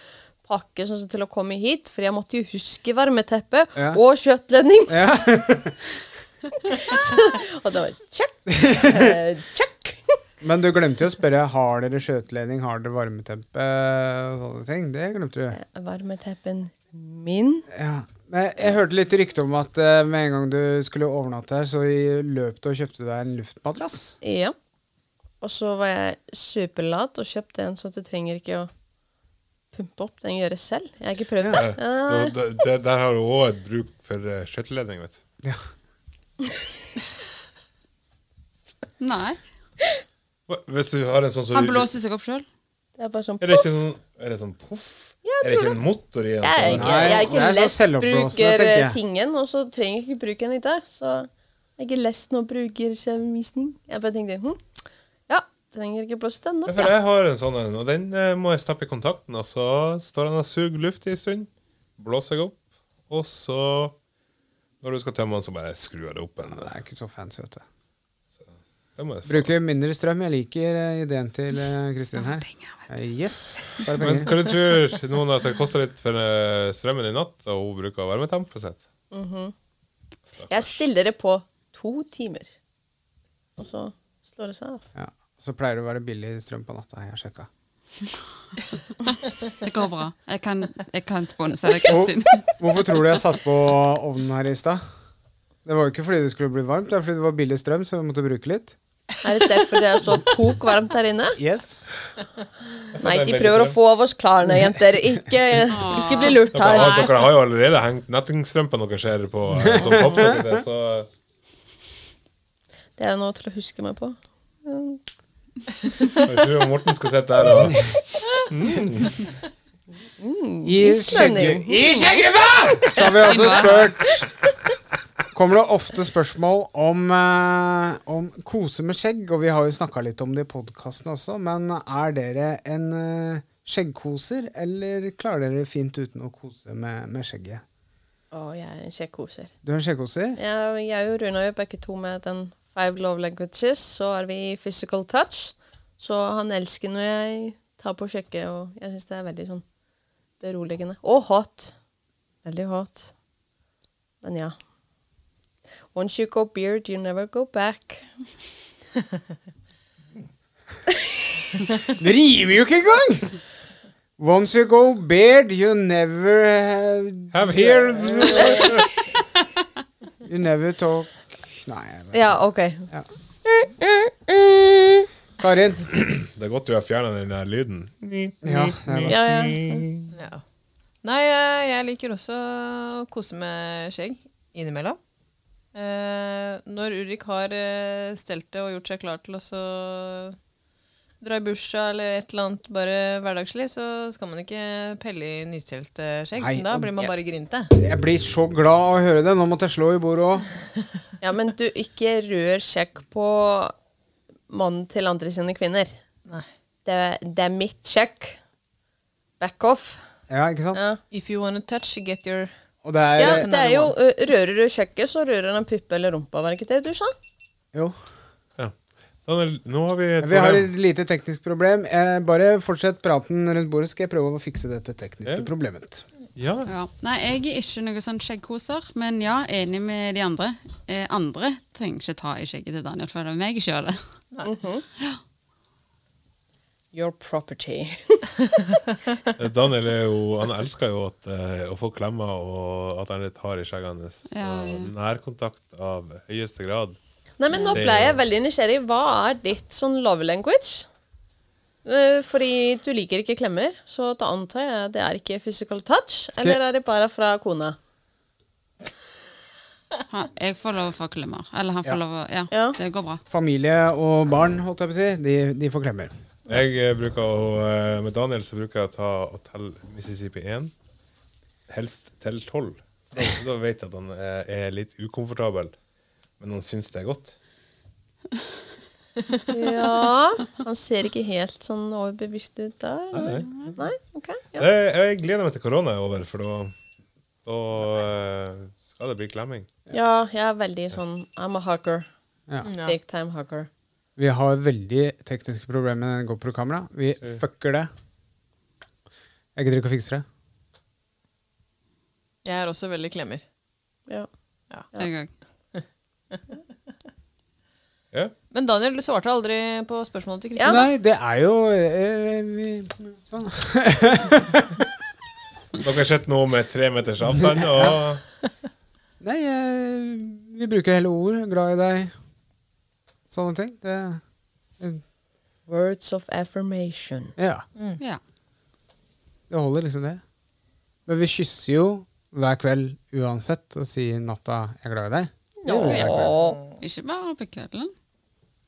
pakke sånn som til å komme hit, for jeg måtte jo huske varmeteppe
Ja.
og kjøttledning.
Ja.
og det var check, eh, check.
Men du glemte jo å spørre har dere skjøteledning, har dere varmetempe og sånne ting. Det glemte du.
Varmeteppen min.
Ja. Nei, jeg hørte litt rykte om at eh, med en gang du skulle overnatte her, så i- løp du og kjøpte deg en luftmadrass.
Ja. Og så var jeg superlat og kjøpte en, så du trenger ikke å pumpe opp. Den gjøres selv. Jeg har ikke prøvd det.
Da- da- Der der har hun òg et bruk for eh, skjøteledning, vet du.
Ja.
Nei.
Hva- Hvis du har en sånn som
Han blåser seg opp sjøl.
Det er bare sånn
Er det ikke sånn Er det sånn poff? Er det ikke en motor i den?
Jeg er
sånn?
ikke,
Nei,
jeg er
det
ikke
er så
lest
selvoppblåsende,
bruker eh,
tenker jeg.
tingen, og så trenger jeg ikke bruke den ikke. Så jeg er ikke lest noe brukerkjemivisning. Jeg bare tenkte hm, ja, trenger ikke blåse den
Ja,
opp.
for
Ja.
jeg har en sånn en, og den eh, må jeg stappe i kontakten. Og så står han og suger luft i en stund, blåser jeg opp, og så Når du skal tømme den, så bare skrur jeg det opp. En, eh,
Det er ikke så fancy, vet du.
det må jeg faen-
Bruker mindre strøm. Jeg liker eh, ideen til eh, Kristin her.
Penger, vet du.
Eh, Yes. Bare
Men
penger.
hva du tror noen at det koster litt for eh, strømmen i natt, og hun bruker varmetempet sitt?
Jeg stiller det på to timer, og så slår det seg av.
Ja. Så pleier det å være billig strøm på natta. Jeg har sjekka.
Det går bra. Jeg kan, jeg kan sponse deg, Kristin.
Hvorfor tror du jeg satt på ovnen her i stad? Det var jo ikke fordi det skulle bli varmt, det er fordi det var billig strøm, så vi måtte bruke litt.
Er det derfor det er så tok varmt her inne?
Yes.
Nei,
det er
de
veldig
prøver å
strøm.
få av oss klarene, jenter. Ikke, ikke bli lurt
Dere har,
her.
dere har jo allerede hengt nettingstrømpene deres her på eh, som popsocket ditt, så
Det er noe til å huske meg på.
jeg tror Morten skal sitte der og
I
Islending.
skjegge- I skjeggegruppa! Så har vi også spurt Kommer det ofte spørsmål om, eh, om kose med skjegg? Og vi har jo snakka litt om det i podkasten også, men er dere en eh, skjeggkoser, eller klarer dere fint uten å kose med, med skjegget?
Å, jeg er en kjekkkoser.
Du er en skjeggkoser?
Jeg, jeg og Rune er jo begge to med den Five Love Languages. Så er vi i Physical Touch. Så han elsker når jeg tar på kjøkkenet, og jeg syns det er veldig sånn beroligende. Og hot. Veldig hot. Men ja. Once you go beard, you never go back.
Det rimer jo ikke engang! Once you go beard, you never have,
Have hears!
You never talk Nei. jeg vet-
Ja, OK.
Karin.
Det er godt du har fjerna den der lyden.
Ja, det er bra.
Ja, ja.
Ja. Nei, eh, jeg liker også å kose med skjegg innimellom. Eh, når Ulrik har eh, stelt det og gjort seg klar til å så dra i bursdag eller et eller annet bare hverdagslig, så skal man ikke pelle i nystelt eh, skjegg.
Nei,
så da
og-
blir man bare grinte.
Jeg blir så glad av å høre det. Nå måtte jeg slå i bordet òg.
Ja, men du, ikke rør sjekk på mannen til andre sine kvinner.
Nei.
Det, det er mitt sjekk. Back off.
Ja, ikke sant?
Ja.
If you wanna touch, get your
Og det er
ja, det er eh, jo ø, Rører du kjøkkenet, så rører han puppe eller rumpa. Var det ikke det du sa?
Jo.
Ja. Daniel, nå har vi et
Vi har
problem.
et lite teknisk problem. Eh, bare fortsett praten rundt bordet, skal jeg prøve å fikse dette tekniske
Ja.
problemet.
Ja.
Ja. Nei, jeg er ikke noe sånn skjeggkoser, men ja, enig med de andre. Eh, andre trenger ikke ta i skjegget til Daniel, for det er meg ikke gjør det.
Your property.
Daniel er jo, han elsker jo at, eh, å få klemmer og at han er litt hard i skjegget hans. Så
Ja, ja.
Nærkontakt av høyeste grad.
Nei, men nå
Det-
ble jeg veldig nysgjerrig. Hva er ditt sånn love language? Eh, Fordi du liker ikke klemmer, så da antar jeg det er ikke physical touch.
jeg-
Eller er det bare fra kona?
Han, jeg får lov å få klemmer. Eller han
Ja.
får lov å ja,
Ja.
det går bra.
Familie og barn, holdt jeg på å si, de, de får klemmer.
Jeg eh, bruker å, eh, Med Daniel så bruker jeg å ta og telle Mississippi 1, helst til 12. Da, da vet jeg at han er, er litt ukomfortabel, men han syns det er godt.
Ja Han ser ikke helt sånn overbevist ut da? Eller? Nei? Ok. Ja.
Det, Eh, jeg gleder meg til korona er over, for da, da eh, skal det bli klemming.
ja, jeg er veldig sånn I'm a hugger.
Ja.
Ja.
Big time hugger.
Vi har veldig tekniske problemer med den GoPro-kamera. Vi fucker det. Jeg gidder ikke å fikse det.
Jeg er også veldig klemmer.
Ja.
Jeg òg.
Ja.
Men Daniel, du svarte aldri på spørsmålet til Kristin.
Ja.
Nei, det er jo eh, vi, sånn.
Dere har sett noe med tre meters avstand, og
Nei, eh, vi bruker hele ord. Glad i deg. Sånne ting. Det,
Words of affirmation.
ja.
Mm.
Ja.
Det holder liksom det. Men vi kysser jo hver kveld uansett og sier 'natta, jeg er glad i deg'. Det gjør vi hver kveld.
Åh.
Ikke bare på kvelden.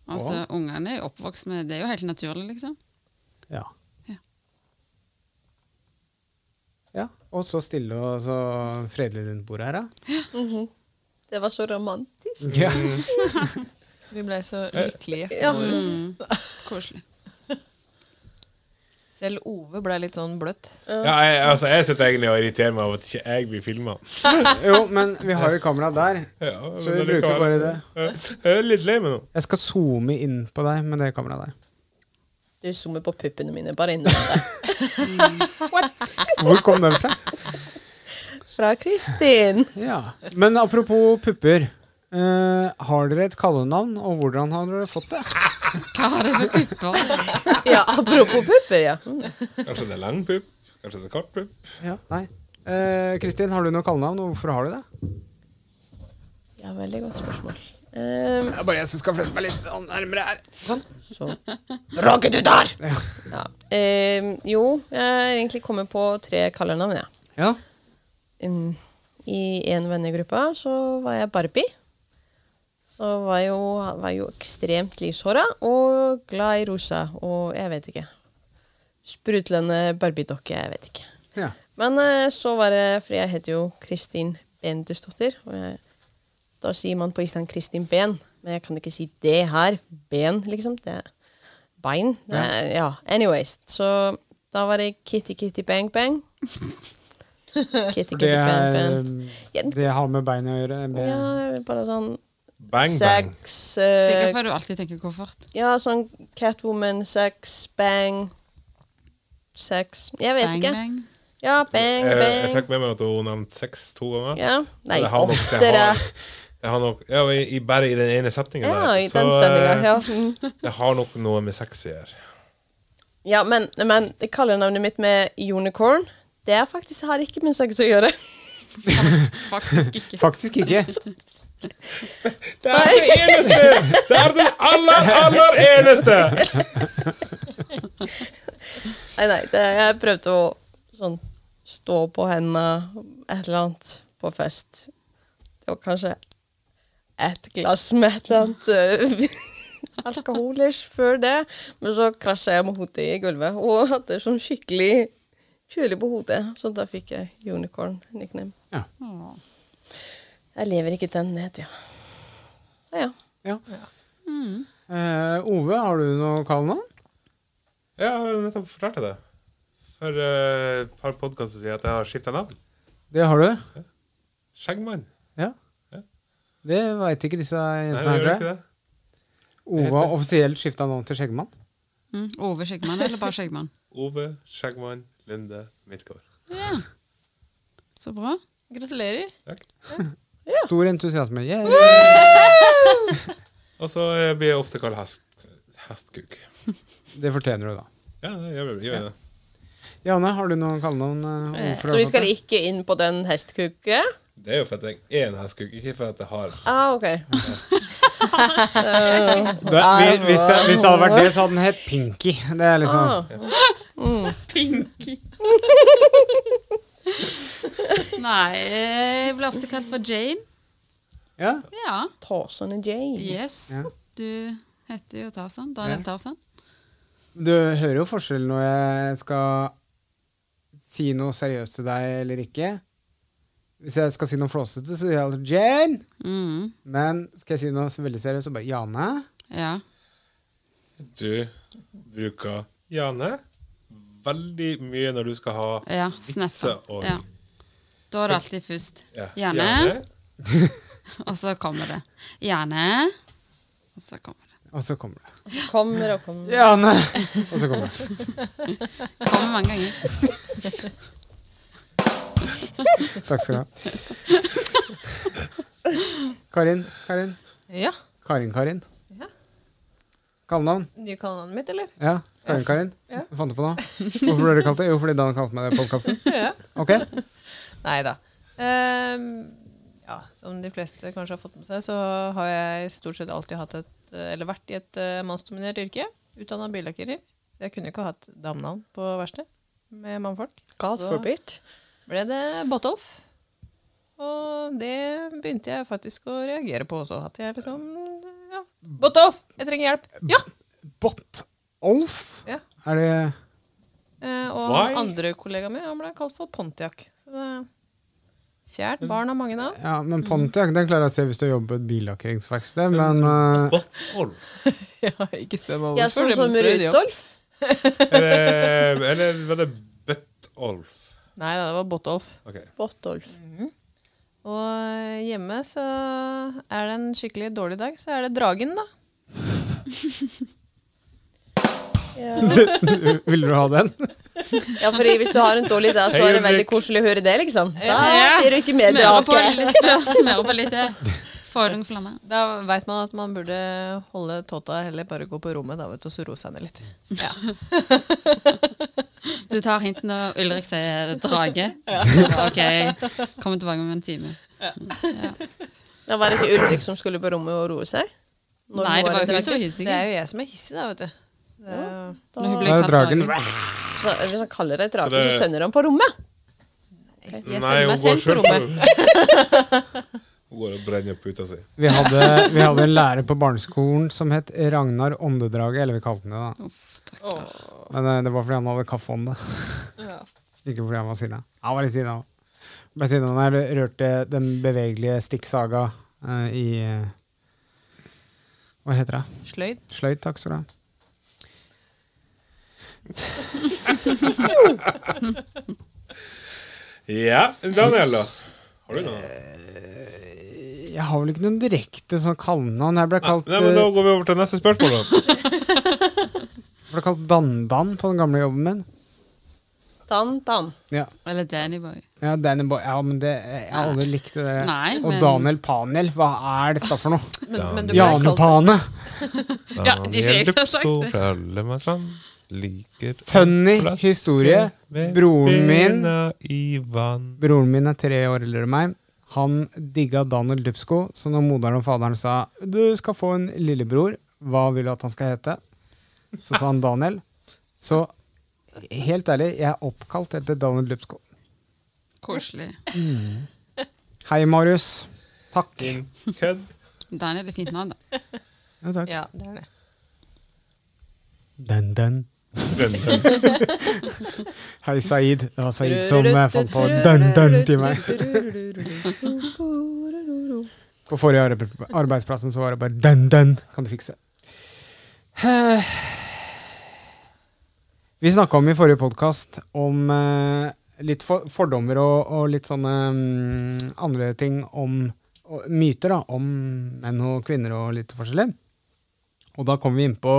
Altså, Ungene er jo oppvokst med Det er jo helt naturlig, liksom.
Ja. Ja, Og så stille og så fredelig rundt bordet her, da.
Det var så
Mm.
romantisk.
Ja.
Vi ble så lykkelige.
Ja.
Koselig.
Selv Ove ble litt sånn bløtt.
Ja, jeg, altså, jeg sitter egentlig og irriterer meg over at ikke jeg blir filma.
Jo, men vi har jo kamera der.
Ja,
Så
men
vi bruker
allikevel.
bare det.
Ja, Jeg er litt lei meg nå.
Jeg skal zoome inn på deg med det kameraet der.
Du zoomer på puppene mine. Bare innrøm det.
Hvor kom den fra?
Fra Kristin.
Ja. Men apropos pupper. eh, har dere et kallenavn, og hvordan har dere fått det?
Hva har det med pupper?
Ja, apropos pupper, ja. Mm.
Kanskje det er lang pupp? Kanskje det er kort pupp?
Ja, nei. Eh, Kristin, har du noe kallenavn, og hvorfor har du det?
Ja, veldig godt spørsmål. Um,
Det er bare jeg som skal flytte meg litt nærmere her. Sånn.
så Roger, du der! Ja. Ehm, jo, jeg har egentlig kommet på tre kallenavn, jeg.
Ja.
um, I en vennegruppe så var jeg Barbie. Så var jo, var jo ekstremt lyshåra og glad i rosa og jeg vet ikke. Sprudlende Barbie-dokke, jeg vet ikke.
ja.
Men eh, så var det, for jeg heter jo Kristin Bentusdottir, og jeg, da sier man på Island Kristin Ben, men jeg kan ikke si det her, Ben, liksom, det er bein, det er, ja, anyways, så da var det Kitty Kitty Bang Bang. Kitty
For
Kitty
det,
Bang
er, eh,
Bang. Ja.
det har med bein å gjøre. eh, Med,
Ja, bare sånn
Bang, bang.
sex, eh,
Sikkert fordi du alltid tenker koffert.
ja, sånn Catwoman, sex, bang, sex, jeg vet
Bang,
ikke.
bang.
Ja, bang,
Eh, Jeg, jeg
bang.
fikk med meg at hun nevnte sex to ganger.
Ja, nei,
Det har nok- det
oftere.
har- Det har nok, ja, i, i, bare i den ene setningen.
Ja,
der.
i
Så,
den sendinga.
eh,
Ja. Mm.
Det har nok noe med sex å gjøre.
ja, men, men kallenavnet mitt med unicorn, det er faktisk, har ikke med sex å gjøre.
Faktisk ikke.
Faktisk ikke.
Det er det eneste! Det er det aller, aller eneste!
Nei, nei, det, jeg prøvde å sånn stå på hendene, et eller annet, på fest. Det var kanskje et glass med et eller annet øh, alkoholisk før det, men så krasja jeg med hodet i gulvet og hadde sånn skikkelig kjølig på hodet, så da fikk jeg unicorn-nickname.
Ja.
Jeg lever ikke den ned, ja. Ja, ja.
Ja. Eh, Ove, har du noe kallenavn?
Ja, jeg nettopp fortalte det. For eh, et par podkaster sier jeg at jeg har skifta navn.
Det har du.
Skjeggmann.
Ja. Det veit ikke disse
Nei,
jentene
jeg
her,
gjør
tror
ikke
jeg.
det.
Ove har offisielt skifta navn til Skjeggmann.
Mm. Ove Skjeggmann eller bare Skjeggmann?
Ove Skjeggmann Lunde Midtgaard.
Så bra.
Gratulerer.
Takk.
Stor entusiasme. Yeah.
Og så eh, blir jeg ofte kalt hest, hestkuk.
Det fortjener du, da.
Ja, det gjør jeg gjør det.
Janne, har du noe kallenavn? eh, Ove, for å
Så vi
ha
skal
fått det?
ikke inn på den hestkuken?
Det er jo for at jeg er en hestkuk, ikke for at jeg har
Ah, ok.
det, vi- hvis, det, hvis det hadde vært det, så hadde den hett Pinky. Det er liksom
Ah.
Pinky. Nei, eh, jeg blir ofte kalt for Jane.
Ja.
Ja.
Tarzan og Jane.
Yes.
Ja.
Du heter jo Tarzan. Daniel
Ja.
Tarzan.
Du hører jo forskjellen når jeg skal si noe seriøst til deg eller ikke. Hvis jeg skal si noe flåsete, så sier jeg alltid Jane.
Mm.
Men skal jeg si noe veldig seriøst, så bare Jane.
Ja.
Du bruker Jane veldig mye når du skal ha
ja. Snapper.
og
Ja. Da er det alltid først.
Ja,
Gjerne. Og så kommer det. Gjerne. Og så kommer det.
Og så kommer det.
Kommer og kommer.
Jane! Og så kommer det.
Kommer mange ganger.
Takk skal du ha. Karin, Karin.
Ja.
Karin, Karin.
Ja.
Kallenavn?
Nye kallenavnet mitt, eller?
Ja. Karin, Karin.
Ja.
Hva Fant du på noe? Hvorfor ble det kalt det? Jo, fordi Dan kalte meg det i podkasten.
Ja.
Ok.
Nei da. Ehm, ja, som de fleste kanskje har fått med seg, så har jeg stort sett alltid hatt et, eller vært i et eh, mannsdominert yrke. Utdanna billakkerer. Jeg kunne ikke ha hatt damenavn på verkstedet med mannfolk.
God
Så
forbid.
ble det Botolf. Og det begynte jeg faktisk å reagere på også. At jeg liksom ja, Botolf! Jeg trenger hjelp! Ja!
Bot-Olf?
Ja.
Er det
Eh, og
Why?
andre kollegaen min han ble kalt for Pontiac. Så det- Kjært barn har mange navn.
Ja, men Pontiac den klarer jeg å se hvis du jobber på et billakkeringsverksted,
Mm.
men eh,
Botolf.
Ja, ikke spør meg
Ja, sånn
det,
som
men spør de om.
Rudolf.
Eller, Eh, eller var det Bøttolf?
Nei, nei, det var Botolf.
Ok.
Bottolf.
Og eh, hjemme så er det en skikkelig dårlig dag, så er det dragen, da.
Ja.
eh, vil du ha den?
ja, fordi hvis du har en dårlig dag, så er det
Hei,
veldig
Ulrik.
koselig å høre det, liksom. Da
Ja.
blir du ikke med
Smører på,
tilbake.
smør, smører på litt til. Får du noen flamme?
Da veit man at man burde holde tåta heller bare gå på rommet da, vet du, og så rose henne litt.
Du tar hinten når Ulrik sier drage. Ok, kommer tilbake om en time.
Da var det ikke Ulrik som skulle på rommet og roe seg. Når
Nei, det var jo
dragen.
hun som var
Det er
hissig.
jo jeg som er hissig, da, vet du. Det,
Når hun
Da
ble
er
kalt
dragen.
dragen.
Så Hvis han kaller deg
Så
drage,
det-
så sender han på rommet.
jeg
Nei,
sender
hun
meg
går
selv på
selv
rommet.
Hun går og brenner puta si.
Vi hadde, vi hadde en lærer på barneskolen som het Ragnar Åndedraget, eller vi kalte han det da. Men eh, det var fordi han hadde kaffeånde. Ikke fordi han var sinna. Han var litt sinna òg. Ble sinna da jeg rørte den bevegelige stikksaga eh, i eh, Hva heter det?
Sløyd.
Sløyd, takk skal du ha.
Ja, Daniel, da? Har du noe?
Eh,
Jeg har vel ikke noen direkte sånn kallenavn. Jeg ble kalt,
Nei, men Da
eh,
går vi over til neste spørsmål, da.
ble kalt Dan-Dan på den gamle jobben min.
Dan, dan.
Ja.
Eller Danny Boy.
Ja, Danny Boy, ja, men det, jeg har aldri likte det.
Nei,
og
men-
Daniel Paniel, hva er dette for noe?
Men, men du ble
Jane
kalt
Pane!
Ja, det er ikke jeg som har sagt det.
Daniel Lupsto fra Lemmersland sånn, liker
Funny
plass
historie.
med
Broren min
bena i vann.
Broren min er tre år eldre enn meg. Han digga Daniel Dupsko, så når moderen og faderen sa du skal få en lillebror, hva vil du at han skal hete? Så sa han Daniel. Så helt ærlig, jeg er oppkalt etter Daniel Dupsko.
Koselig.
Hei, Marius. Takk.
Din kødd.
Daniel er fint navn, da.
Ja, takk.
Ja, det er det.
Den, den.
Den, den.
Hei, Saeed. Det var Saeed som eh, fant på den, den til meg. På forrige arbe- arbeidsplassen så var det bare den, den kan du fikse. Eh, Vi snakka om i forrige podkast om eh, litt for fordommer og, og litt sånne mm, andre ting om og myter da, om menn og kvinner og litt forskjellig. Og da kommer vi inn på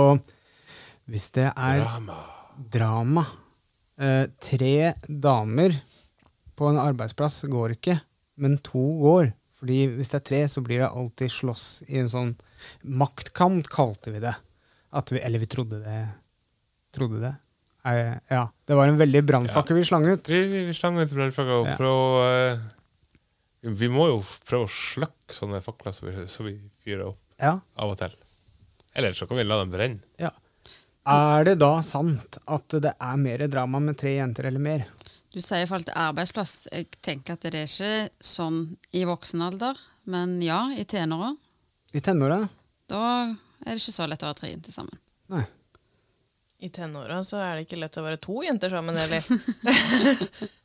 Hvis det er
Drama.
drama eh, Tre damer på en arbeidsplass går ikke, men to går. Fordi hvis det er tre, så blir det alltid slåss i en sånn maktkamp, kalte vi det. At vi, eller vi trodde det. Trodde det. Eh, ja. Det var en veldig brannfakkel vi slang ut.
Vi, vi, vi slenger litt brannfakler
Ja.
for å eh, Vi må jo prøve å slukke sånne fakler som vi, så vi fyrer opp
Ja.
av og til. Eller så kan vi la dem brenne.
ja. Er det da sant at det er mer drama med tre jenter eller mer?
Du sier i forhold til arbeidsplass. Jeg tenker at det er ikke sånn i voksen alder, men ja, i tenåra.
I tenåra?
Da er det ikke så lett å være tre til sammen.
Nei.
I tenåra så er det ikke lett å være to jenter sammen heller.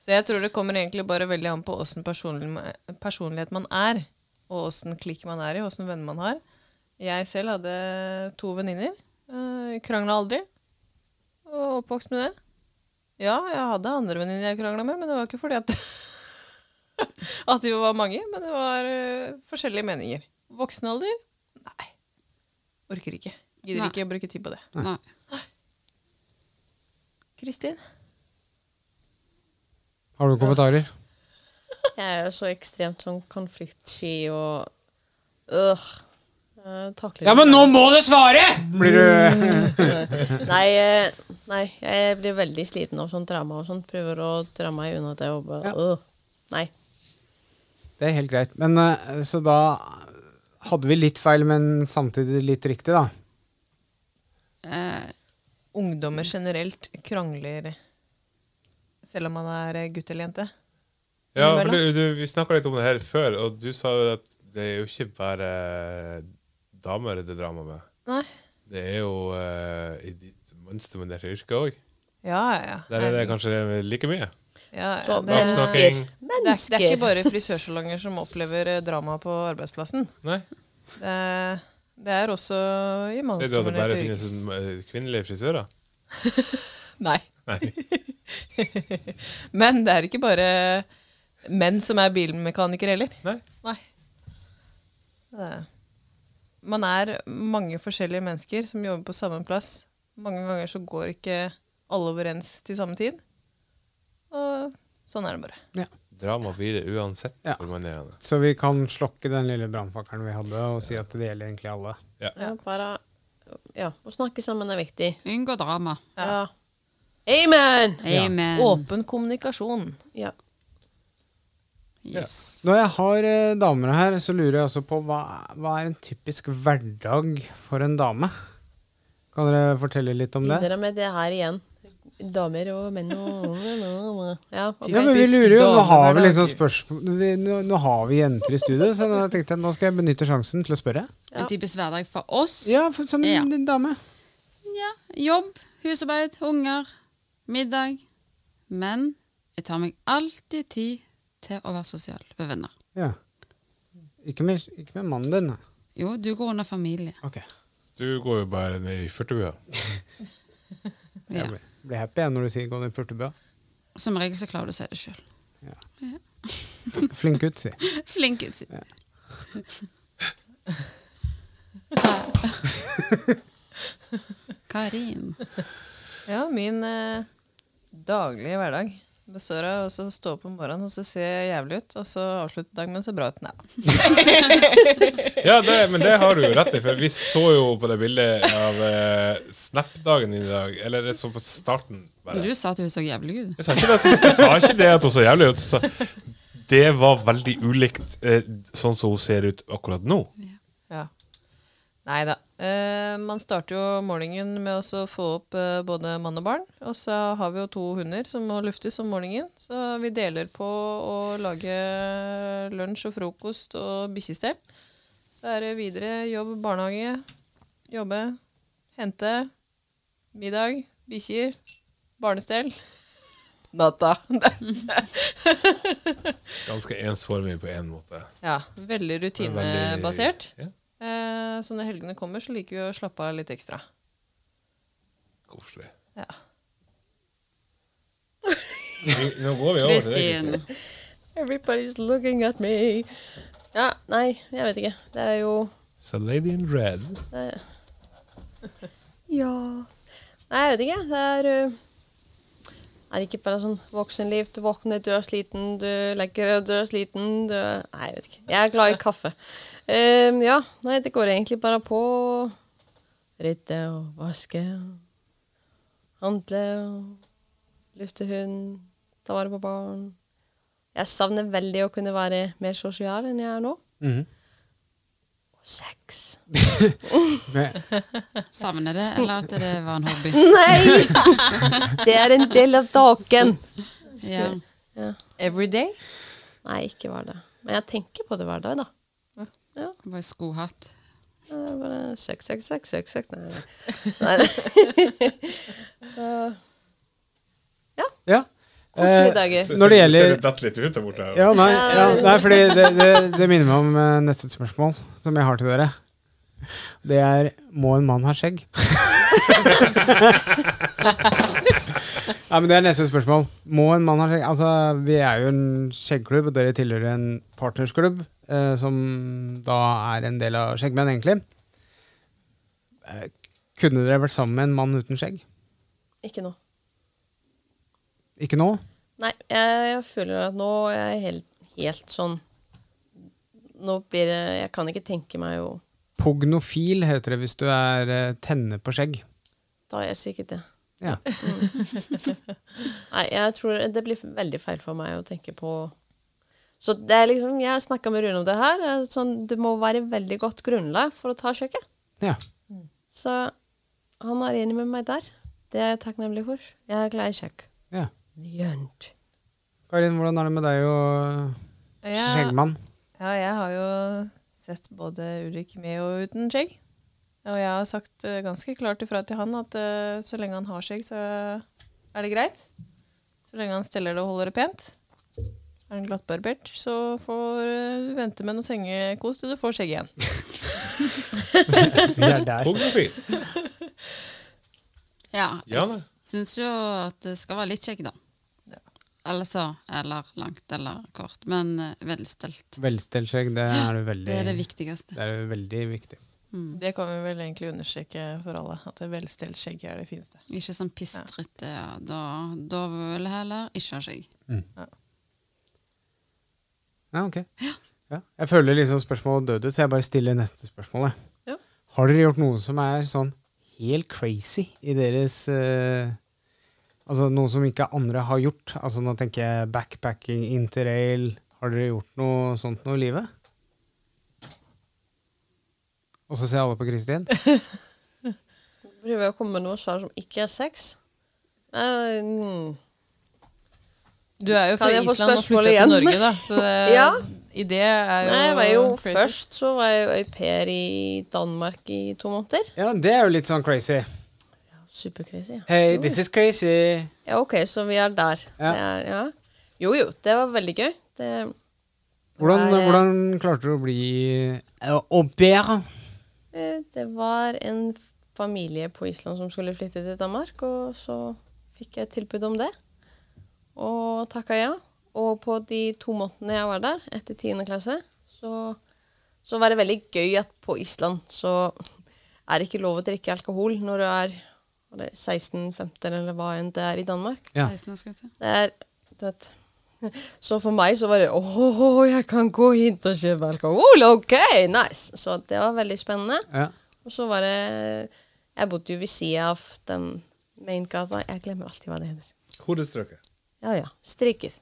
så jeg tror det kommer egentlig bare veldig an på åssen personlig, personlighet man er, og åssen klikk man er i, åssen venner man har. Jeg selv hadde to venninner. øh, Krangla aldri. Og oppvokst med det. Ja, jeg hadde andre venninner jeg krangla med, men det var ikke fordi at At vi var mange, men det var øh, forskjellige meninger. Voksen alder? Nei. Orker ikke. Gidder
Nei.
ikke å bruke tid på det.
Nei.
Kristin?
Har du kommentarer?
Jeg er jo så ekstremt sånn konfliktsky og øh. Jeg takler det.
må du svare! Blir du
Nei, eh, nei, jeg blir veldig sliten av sånt drama og sånt. Prøver å dra meg unna det og bare øh. Nei.
Det er helt greit. Men eh, så da hadde vi litt feil, men samtidig litt riktig, da.
Eh,
ungdommer generelt krangler selv om man er gutt eller jente.
Ja, for
Innimellom.
du, du, vi snakka litt om det her før, og du sa jo at det er jo ikke bare damer det er drama med.
Nei.
Det er jo eh, i ditt mønstermanderte yrke òg.
Ja, ja.
Der er det kanskje like mye.
ja, ja.
Så
Det, er- det,
Baksnakking.
mennesker.
er, det er
Mennesker.
ikke bare frisørsalonger som opplever eh, drama på arbeidsplassen.
Nei.
Det er, det er også
Ser du at
i
det bare
mannsdominerte yrker.
finnes eh, kvinnelige frisører?
Nei.
Nei.
Men det er ikke bare menn som er bilmekanikere heller.
Nei.
Nei. Det er. Man er mange forskjellige mennesker som jobber på samme plass. Mange ganger så går ikke alle overens til samme tid. Og sånn er det bare.
Drama blir det uansett
Ja.
hvor man er. hen.
Så vi kan slokke den lille brannfakkelen vi hadde, og si at det gjelder egentlig alle.
Ja, bare Ja, å snakke sammen er viktig.
Unngå drama.
Ja. Amen!
Amen.
Åpen kommunikasjon.
Ja.
Yes.
Når jeg har eh, damer her, så lurer jeg også på hva, hva er en typisk hverdag for en dame? Kan dere fortelle litt om det?
Begynner med det her igjen. Damer og menn og Ja, ok.
Ja, men vi
Typisk
lurer jo, Nå har vi
damehverdag.
liksom spørsmål vi, nå, nå har vi jenter i studio, så da tenkte jeg nå skal jeg benytte sjansen til å spørre.
En typisk hverdag for oss.
Ja, for, som
Ja.
en dame.
Ja, jobb, husarbeid, unger, middag. Men jeg tar meg alltid tid til å være sosial med venner.
Ja. Ikke med, ikke med mannen din. da.
Jo, du går under familie.
Ok.
Du går jo bare ned i furtebua.
Ja.
Jeg blir, blir happy jeg, når du sier 'gå ned i purtebua'.
Som regel så klarer du å si det sjøl.
Flink gutt, si.
Flink ut. Karin.
Ja, min eh, daglige hverdag består av å så stå opp om morgenen og så se jævlig ut, og så avslutte dagen med å se bra ut. Nei.
Ja, det, men det har du jo rett i, for vi så jo på det bildet av eh, Snap-dagen din i dag. Eller det så på starten. bare.
Du sa at hun så jævlig ut.
Jeg sa ikke det, at- jeg sa ikke det at hun så jævlig ut. jeg Sa, det var veldig ulikt eh, sånn som hun ser ut akkurat nå.
Ja. Nei da. Eh, man starter jo morgenen med å så få opp eh, både mann og barn. Og så har vi jo to hunder som må luftes om morgenen. Så vi deler på å lage lunsj og frokost og bikkjestell. Så er det videre jobb, barnehage, jobbe, hente, middag, bikkjer, barnestell. Natta.
Ganske ensformig på én en måte.
ja, veldig
Veldig-
rutinebasert.
Ja,
Eh, så når helgene kommer, så liker vi å slappe av litt ekstra.
koselig.
Ja.
Vi- Nå går vi over til det.
Kristin.
Everybody's looking at me. Ja, nei, jeg vet ikke. Det er jo
Så Lady in Red.
det er... Ja Nei, jeg vet ikke. Det er uh, Er det ikke bare sånn voksenliv? Du våkner, du er sliten, du legger deg, du er sliten du er... Nei, jeg vet ikke. Jeg er glad i kaffe. Ehm, ja, nei, det går egentlig bare på å rydde og vaske og handle og lufte hund, ta vare på barn. Jeg savner veldig å kunne være mer sosial enn jeg er nå.
Mhm.
Og sex.
Men-
Savner det, eller at det var en hobby?
Nei! Det er en del av dagen.
Ja.
Every day?
Nei, ikke hver dag. Men jeg tenker på det hver dag, da.
Bare skohatt.
Det er bare sex, sex, sex, sex, sex. Nei, nei. nei. Eh,
Ja.
Koselige
Eh,
dager.
Når det gjelder-
Ser du datt litt ut der borte? her?
Ja, nei, ja, nei fordi det, sånn. det, det minner meg om eh, neste spørsmål som jeg har til dere. Det er må en mann ha skjegg? nei, men det er neste spørsmål. Må en mann ha skjegg? Altså, vi er jo en skjeggklubb, og dere tilhører en partnersklubb eh, som da er en del av Skjeggmenn, egentlig. Eh, kunne dere vært sammen med en mann uten skjegg?
Ikke nå.
Ikke nå?
Nei, jeg, jeg føler at nå er jeg helt, helt sånn Nå blir det Jeg kan ikke tenke meg å
Pognofil heter det hvis du er eh, tenner på skjegg.
Da er jeg sikkert det.
Ja.
Nei, jeg tror det blir veldig feil for meg å tenke på Så det er liksom, jeg snakka med Rune om det her. eh, Sånn, det må være veldig godt grunnlag for å ta kjøkkenet.
ja.
Så han er enig med meg der. Det er jeg takknemlig for. Jeg er glad i kjøkk.
Ja.
Jønt.
Karin, hvordan er det med deg og
Ja,
skjeggmann?
ja, jeg har jo sett både Ulrik med og uten skjegg. Og jeg har sagt eh, ganske klart ifra til han at eh, så lenge han har skjegg, så Er det greit? Så lenge han steller det og holder det pent. Er han glattbarbert, så får eh, du vente med noe sengekos til du får skjegg igjen.
Vi er der.
Fotografi.
Ja,
Ja,
jeg
da.
syns jo at det skal være litt skjegg, da. Eller så, eller langt eller kort, men eh, velstelt.
Velstelt skjegg, det er det veldig
Det er det viktigste.
det er veldig viktig.
Det kan vi vel egentlig understreke for alle, at det velstelt skjegg er det fineste.
Ikke sånn pistrete. Ja. Da, da vil jeg heller ikke ha skjegg.
Ja, ok. Ja. Jeg føler liksom spørsmålet døde ut, så jeg bare stiller neste spørsmål. jeg.
Ja.
Har dere gjort noe som er sånn helt crazy i deres eh, Altså noe som ikke andre har gjort? Altså Nå tenker jeg backpacking, interrail Har dere gjort noe sånt noe i livet? Og så ser alle på Kristin.
Prøver jeg å komme med noe svar som ikke er sex? Eh, mm.
Du er jo fra
Kan jeg få
Island og
spørsmål
flyttet til
igjen?
Norge, da. Så det,
Ja.
i det er jo
Nei, jeg var jo
crazy.
Først så var jeg jo au pair i Danmark i to måneder.
Ja, det er jo litt sånn crazy.
Supercrazy. ja.
Hey, this is crazy.
Ja, OK, så vi er der.
Ja.
Det er, ja. Jo jo, det var veldig gøy. Det,
Hvordan,
Det er, eh,
hvordan klarte du å bli eh, au pair?
eh, det var en familie på Island som skulle flytte til Danmark, og så fikk jeg tilbud om det. Og takka ja. Og på de to månedene jeg var der, etter 10. klasse, så, så var det veldig gøy at på Island så er det ikke lov å drikke alkohol når du er var det 16-15 eller hva enn det er i Danmark.
Ja.
16 år, skal jeg si.
Det er, du vet Så for meg så var det åh, jeg kan gå hit og kjøpe alkohol! OK, nice! Så det var veldig spennende.
Ja.
Og så var det Jeg bodde jo ved sida av den maingata. Jeg glemmer alltid hva det heter.
Hodestrøket.
Ja, ja. Strikket.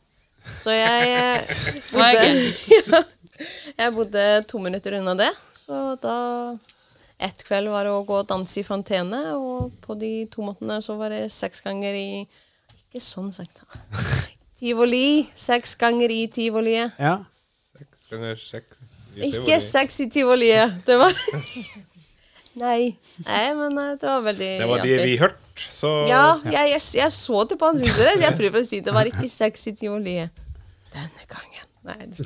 Så jeg eh,
Streiken.
bodde, jeg bodde to minutter unna det. Så da Ett kveld var det å gå og danse i Fontene, og på de to månedene så var det seks ganger i Ikke sånn seks, da. Tivoli. Seks ganger i tivoliet.
Ja.
Seks ganger seks. i
Ikke
tivoli.
seks i tivoliet. Det var Nei. Nei, men eh, det var veldig
Det var de
artig.
vi hørte, så
Ja, jeg, jeg, jeg så det på hans utseende. Jeg prøver å si det var ikke sexy tivoli. Denne gangen. Nei. du-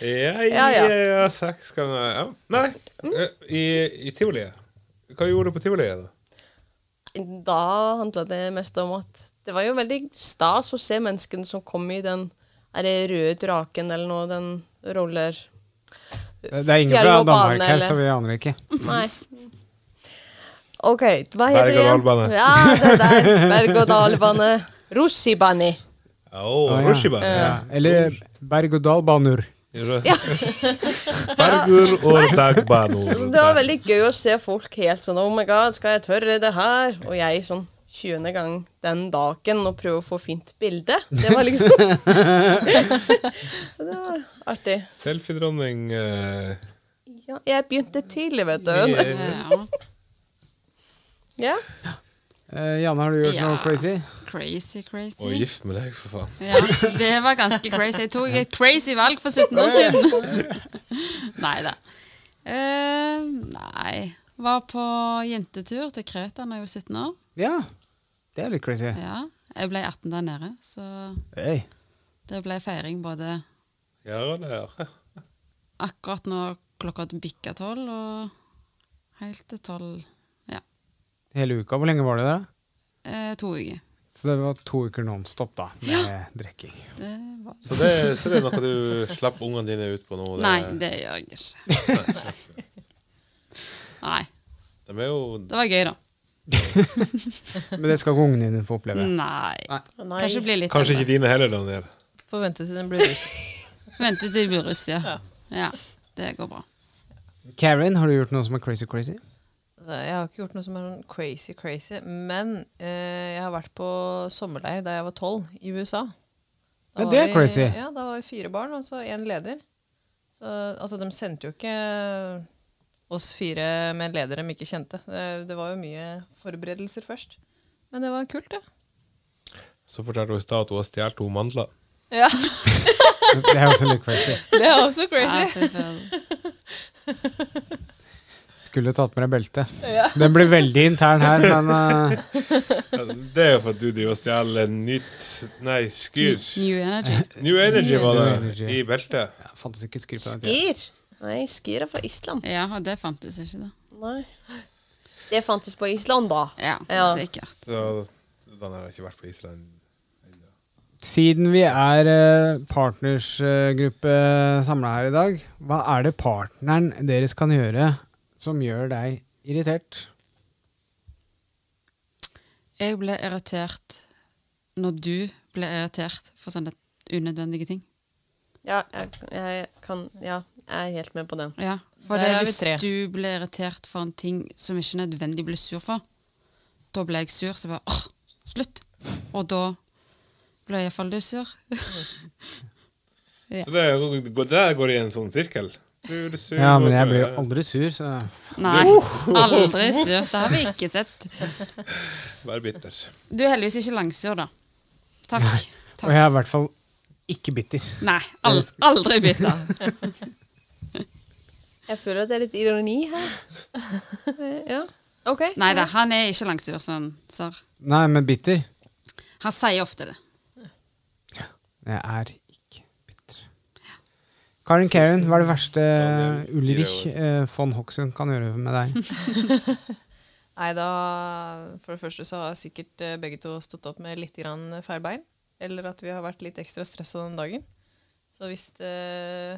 Ja,
Ja,
ja,
ja.
ja. seks ganger ja. Nei, i, i tivoliet. Hva gjorde du på tivoliet, da?
Da handla det mest om at det var jo veldig stas å se menneskene som kom i den er det røde draken eller noe, den roller...
Det er ingen fra
Fjell og
Danmark
bane,
her,
eller?
så vi aner ikke.
Nei. OK, hva heter det igjen?
Berg-og-dal-bane.
Ja, det der. Berg-og-dal-bane. Russibane.
Oh,
Å, ja.
Rushiban.
Ja. Eller berg-og-dal-banur.
Ja.
Berger og dagbanor.
Det var veldig gøy å se folk helt sånn Oh my god, skal jeg tørre det her? Og jeg sånn 20. gang den dagen og prøve å få fint bilde. Det var liksom Det var artig.
Selfiedronning eh,
Ja, jeg begynte tidlig, vet du.
i-
Ja.
Ja.
Eh, Janne, har du gjort
Ja.
noe crazy?
Crazy, crazy.
Og gift med deg, for faen.
Ja, det var ganske crazy. Jeg tok et crazy valg for 17 år siden. Nei da. Eh, nei. Var på jentetur til Kreta da jeg var 17 år.
Ja, det er litt crazy.
Ja. Jeg ble 18 der nede, så
Hey.
det ble feiring både
Ja, det er.
akkurat når klokka bikka tolv, og helt til tolv Ja.
Hele uka, hvor lenge var det der?
Eh, to uker.
Så det var to uker nonstop da, med drikking.
Det var
Så, det, så det er noe du slapp ungene dine ut på nå? Det,
Nei, det gjør jeg ikke. Nei.
De er jo
Det var gøy, da.
Men det skal ikke ungene dine få oppleve.
Nei.
Nei.
Kanskje bli litt
kanskje
eldre.
ikke dine heller, Daniel.
Får vente til den blir russ.
Vente til det blir russ, ja. ja. Det går bra.
Mm.
Karen, har du gjort noe som er crazy crazy?
Jeg har ikke gjort noe som er sånn crazy, crazy. Men eh, jeg har vært på sommerleir da jeg var tolv, i USA.
Ja,
var
det er
vi,
crazy.
Ja, da var vi fire barn, og så én leder. Så, altså, de sendte jo ikke oss fire med en leder de ikke kjente. Det, det var jo mye forberedelser først. Men det var kult, det.
Så fortalte hun i stad at hun har stjålet to mandler.
Ja,
Det er også litt crazy.
um,
det er også
Ja,
crazy.
fy faen.
Skulle tatt med deg belte. Den blir veldig intern her, men eh,
Altså, Det er jo for at du driver og stjeler nytt Nei, skyr.
New Energy.
New Energy var
New
det
Energy.
i beltet.
jeg fantes ikke skru på den tiden.
Skir? Nei, skir er fra Island.
Ja, og det fantes ikke, da.
Nei. Det fantes på Island, da.
Ja,
Ja.
sikkert.
Så den har ikke vært på Island.
Siden vi er eh, partnersgruppe samla her i dag, hva er det partneren deres kan gjøre som gjør deg irritert?
Jeg ble irritert når du ble irritert for sånne unødvendige ting.
Ja, jeg, jeg kan Ja, jeg er helt med på den.
Ja, for
Der
det,
er vi
hvis
tre.
du ble irritert for en ting som ikke nødvendig ble sur for, da ble jeg sur, så bare åh, slutt. Og da ble iallfall du sur.
Så det er- der går det i en sånn sirkel. Du, du, du,
Ja, men jeg blir jo aldri sur, så
Nei, aldri sur. Det har vi ikke sett.
Bare bitter.
Du er heldigvis ikke langsur, da. Takk.
Og jeg er i hvert fall ikke bitter.
Nei, al aldri bitter.
Jeg føler at det er litt ironi her. Eh, Ja. OK.
Nei da, han er ikke langsur, sånn, sir.
Nei, men bitter.
Han sier ofte det.
Jeg er ikke bitter. Karin Karen, hva er det verste
Ja, det er
Ulrich
fire
eh, von Hoxhund kan gjøre med deg?
Nei da, for det første så har sikkert eh, begge to stått opp med litt grann feil bein. Eller at vi har vært litt ekstra stressa den dagen. Så hvis eh,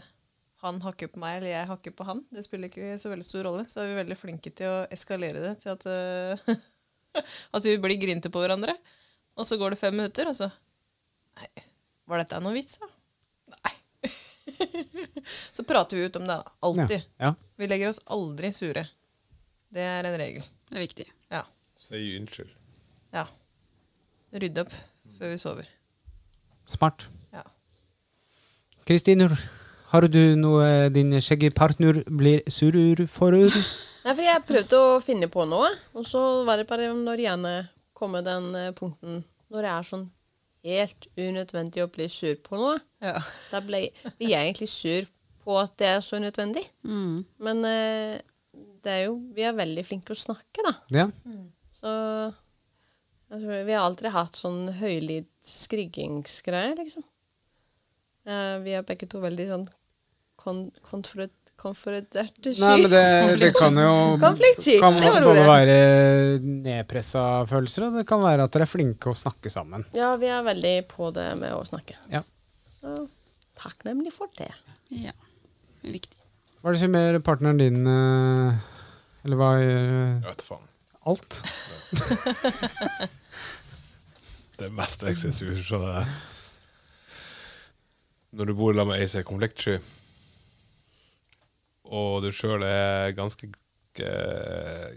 han hakker på meg, eller jeg hakker på han, det spiller ikke så veldig stor rolle. Så er vi veldig flinke til å eskalere det til at, eh, at vi blir grinte på hverandre. Og så går det fem minutter, og så Nei, var dette noen vits, da? Nei. så prater vi ut om det, da. Alltid.
Ja.
Vi legger oss aldri sure. Det er en regel.
Det er viktig.
Ja.
Si unnskyld.
ja. Rydde opp før vi sover.
Smart.
Ja.
Kristin, har du noe eh, din skjeggepartner blir surur forur?
Nei, for jeg prøvde å finne på noe, og så var det bare når gjerne komme den eh, punkten når jeg er sånn helt unødvendig å bli sur på noe.
Ja.
Da ble, blir jeg egentlig sur på at det er så unødvendig.
Mm.
Men eh, det er jo Vi er veldig flinke til å snakke, da.
Ja.
Så jeg tror, Vi har aldri hatt sånn høylyd skriggingsgreie, liksom. Eh, vi er begge to veldig sånn kon konfront konfronterte
Nei, men det, det kan jo
Konfliktsky,
kan
det var
både
ordet.
være nedpressa følelser, og det kan være at dere er flinke å snakke sammen.
Ja, vi er veldig på det med å snakke.
Ja.
Så takknemlig for det.
Ja, det er viktig.
Hva er det som gjør partneren din eh, Eller hva gjør eh,
Jeg vet faen.
alt?
Det meste jeg syns vi skjønner det. Når du bor sammen med ei som er konfliktsky, og du sjøl er ganske eh,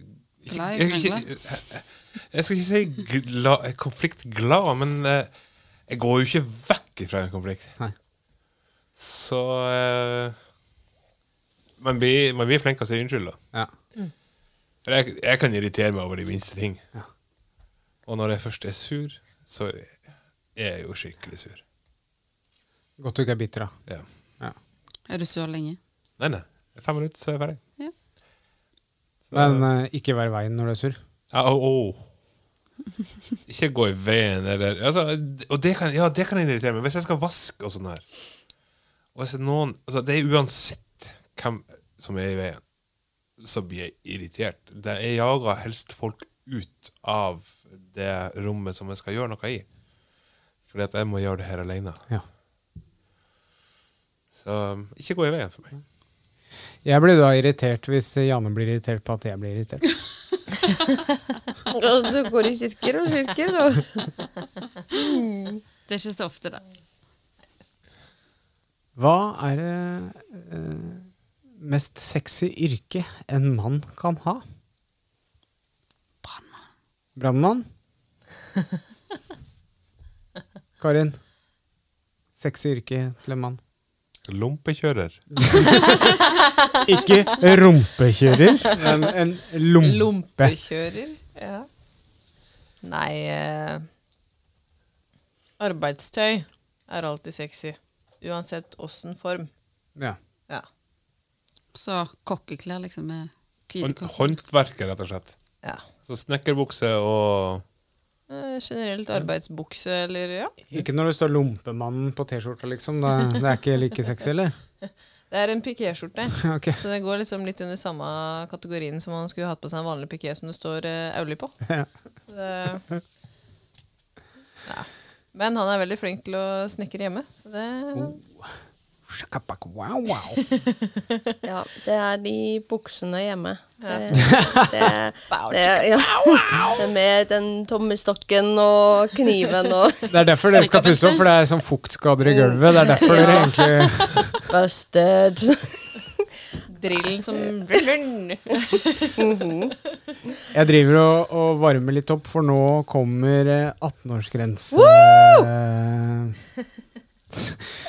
ikke-
Glad i å
jeg- ikke- Jeg skal ikke si gla, konfliktglad, men eh, jeg går jo ikke vekk fra en konflikt.
Nei.
Så eh, man, blir, man blir flink til å si unnskyld, da.
Ja.
Eller Jeg, jeg kan irritere meg over de minste ting.
Ja.
Og når jeg først er sur, så er jeg jo skikkelig sur.
Godt du ikke er bitter, da.
Ja.
Ja.
Er du sur lenge?
Nei, nei. Fem minutter, så er jeg ferdig.
Ja.
Så,
Men eh, ikke vær i veien når du er sur.
ja, å, å. Ikke gå i veien, eller altså, Og det kan, ja, det kan irritere meg. Hvis jeg skal vaske og sånn her og hvis det er noen, altså, Det er uansett hvem som er i veien, så blir jeg irritert. Det- Jeg jager helst folk ut av det rommet som jeg skal gjøre noe i. Fordi at jeg må gjøre det her alene.
Ja.
Så ikke gå i veien for meg.
Jeg blir da irritert hvis Janne blir irritert på at jeg blir irritert.
Og du går i kirker og kirker, og
Det er ikke så ofte, da.
Hva er det eh, mest sexy yrke en mann kan ha? Brannmann. Brannmann? Karin. Sexy yrke til en mann.
Lompekjører.
Ikke rumpekjører, men en lompe.
Lompekjører. Ja. Nei eh, Arbeidstøy er alltid sexy. Uansett åssen form.
Ja.
Ja.
Så kokkeklær, liksom, med Hvite
Hånd-
kopper.
Håndverker, rett og slett.
Ja.
Så snekkerbukse og
Eh, Generelt arbeidsbukse eller ja.
Ikke når det står 'Lompemannen' på T-skjorta, liksom. Da, det er ikke like sexy, eller?
Det er en pikéskjorte.
Ok.
Så det går liksom litt under samme kategorien som om man skulle hatt på seg en vanlig piké som det står eh, Auli på.
Ja.
Så det, ja. Men han er veldig flink til å snekre hjemme, så det
Oh. Shakabak, wow, wow.
Ja, det er de buksene hjemme. Det, det, det, ja. det er med den tommestokken og kniven og
Det er derfor dere skal pusse opp, for det er sånn fuktskader i gulvet. Det er derfor dere
Ja.
egentlig
Busted.
Drillen som
Jeg driver og, og varmer litt opp, for nå kommer eh, 18-årsgrense.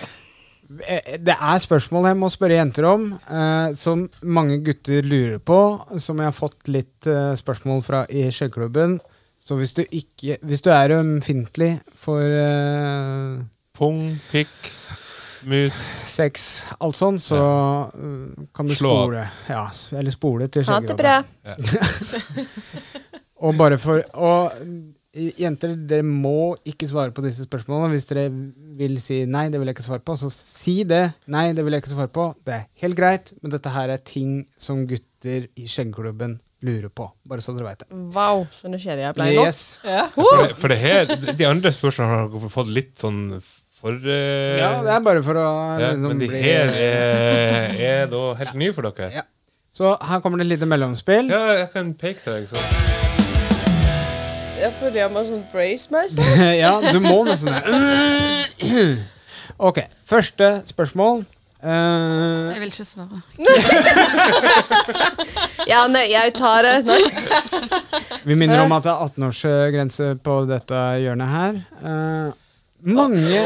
Eh, Det er spørsmål jeg må spørre jenter om, eh, som mange gutter lurer på. Som jeg har fått litt eh, spørsmål fra i skjeggklubben. Så hvis du, ikke, hvis du er ømfintlig for eh,
pung, pikk, mus.
sex, alt sånn, så eh, kan du
Slå av.
spole. Ja, s- eller spole til
Ha det
skjeggklubben.
bra.
Og bare for Og jenter, dere må ikke svare på disse spørsmålene. Hvis dere vil si 'nei, det vil jeg ikke svare på', så si det. 'Nei, det vil jeg ikke svare på'. Det er helt greit, men dette her er ting som gutter i skjeggklubben lurer på. Bare så dere veit det.
Wow, så nysgjerrig jeg ble nå.
Yes.
For det, for det her, de andre spørsmålene har fått litt sånn for... eh,
Ja, det er bare for å
ja,
liksom
men de
bli
her er, er da helt nye for dere.
Ja. Så her kommer det et lite mellomspill.
Ja, jeg kan peke til deg. Så.
Jeg føler jeg må sånn brace meg selv.
ja, du må nesten det. OK. Første spørsmål. Eh,
Jeg vil ikke svare.
Ja, nei, jeg tar det. Nei.
Vi minner om at det er 18-årsgrense på dette hjørnet her. Eh, mange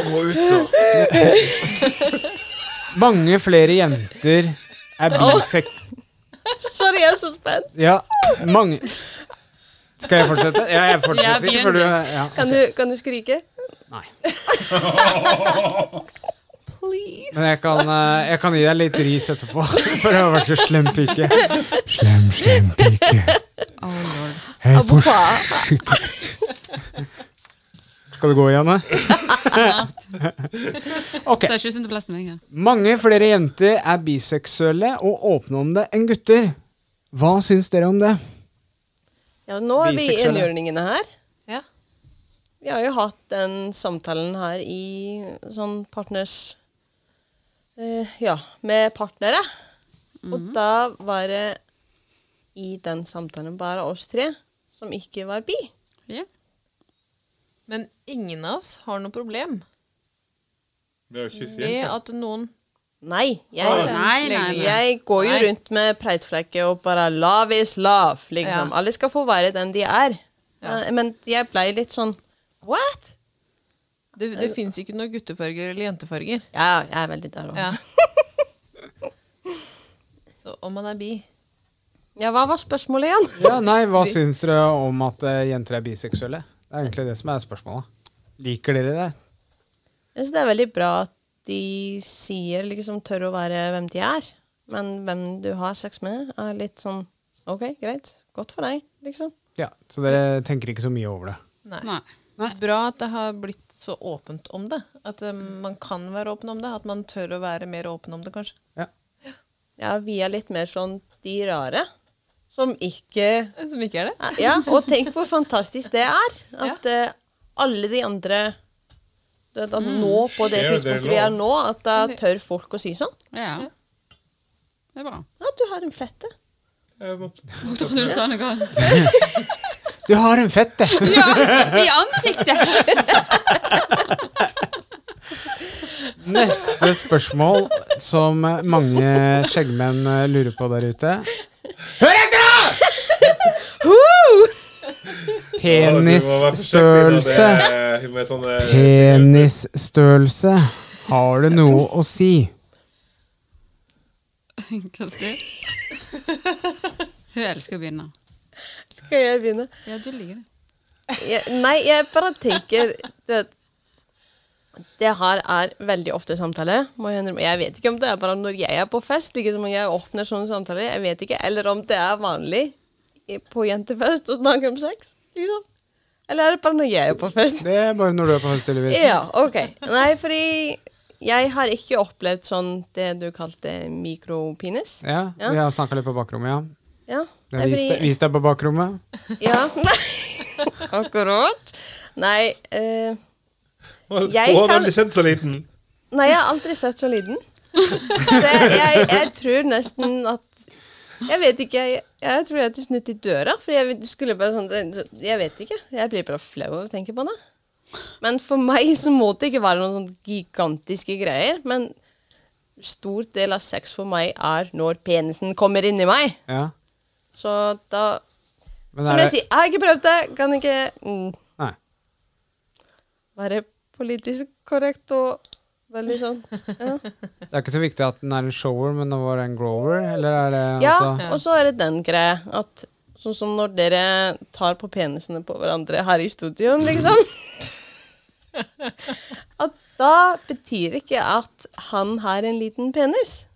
Mange flere jenter er bisek...
Sorry, jeg er så spent.
Ja, mange Skal jeg fortsette? Ja, jeg
Ja,
fortsetter ikke, for du ja.
Kan du, kan du skrike?
Nei.
Please.
Men jeg kan, eh, jeg kan gi deg litt ris etterpå, for å være så slem pike. Slem, slem pike.
Oh, lord.
Hei på
Hva?
Skal du gå, Janne? Ok.
Så er ikke synd til plass til meg her.
Mange flere jenter er biseksuelle og åpne om det enn gutter. Hva syns dere om det?
Ja, nå er vi i
Biseksuelle.
enhjørningene her.
Ja.
Vi har jo hatt den samtalen her i sånn partners eh, Ja, med partnere. Og da var det i den samtalen bare oss tre som ikke var bi.
Ja.
Men ingen av oss har noe problem
Med å kysse
med
jenter.
at noen
Nei. Jeg,
har en
Nei, nei, nei.
jeg går jo
Nei.
rundt med preitflekke og bare 'love is love'. liksom.
Ja.
Alle skal få være den de er.
Ja.
Eh, Men jeg blei litt sånn What?
Det, det fins ikke noen guttefarger eller jentefarger.
Ja, jeg er veldig der òg.
Ja. Så om man er bi
Ja, hva var spørsmålet igjen?
Ja, nei, Hva syns dere om at eh, jenter er biseksuelle? Det er egentlig det som er spørsmålet. Liker dere det?
Jeg synes det er veldig bra at de sier liksom tør å være hvem de er. Men hvem du har sex med, er litt sånn OK, greit. Godt for deg, liksom.
Ja, Så dere tenker ikke så mye over det?
Nei.
Nei.
Bra at det har blitt så åpent om det. At eh, man kan være åpen om det. At man tør å være mer åpen om det, kanskje.
Ja.
Ja, vi er litt mer sånn de rare. Som ikke
Som ikke er det.
Ja, og tenk hvor fantastisk det er. At eh, alle de andre du vet, at
Mm.
Nå, på det
Share their
tidspunktet vi er
love.
nå, at da tør folk å si sånn.
Ja. Det er bra.
Ja, du har en flette.
Jeg må-
Jeg trodde du sa noe
Du har en fette!
Ja, i ansiktet!
Neste spørsmål som eh, mange skjeggmenn eh, lurer på der ute. Hør etter, da! Penisstørrelse.
Med sånn
Penisstørrelse. Har det noe å si?
Hva er det? Hun elsker å begynne.
Skal jeg begynne?
Ja, du liker det.
jeg, nei, jeg bare tenker du vet, Det her er veldig ofte samtale. Må jeg, innrømme. jeg vet ikke om det er bare når jeg er på fest, ikke som om jeg åpner sånne samtaler, jeg vet ikke, eller om det er vanlig i- på jentefest å snakke om sex. Liksom. Eller er det bare når jeg er på fest?
Det er bare når du er på fest, Elvis.
Ja, ok. Nei, fordi jeg har ikke opplevd sånn det du kalte mikropenis.
Ja,
Ja.
vi har snakka litt på bakrommet, ja.
Ja,
Det
nei,
er vist,
fordi-
vist deg på bakrommet.
Ja. Akkurat. Nei, eh,
Hun
Jeg
har
kan-
aldri sett så liten.
nei, jeg har aldri sett så liten. Så jeg, jeg, jeg tror nesten at Jeg vet ikke. Jeg, jeg tror jeg til snutt i døra. For jeg vet- skulle bare sånn det- Jeg vet ikke. Jeg blir bare flau av å tenke på det. Men for meg så må det ikke være noen sånn gigantiske greier. Men stor del av sex for meg er når penisen kommer inni meg.
Ja.
Så da
Men
Som
er
jeg
det-
sier, jeg har ikke prøvd det. Kan ikke mm,
Nei.
være politisk korrekt og veldig sånn. Ja,
Det er ikke så viktig at den er en shower, men det var en grower, eller er det
ja
altså
og så er det den greia at sånn som når dere tar på penisene på hverandre her i studioen, liksom. At da betyr ikke at han har en liten penis.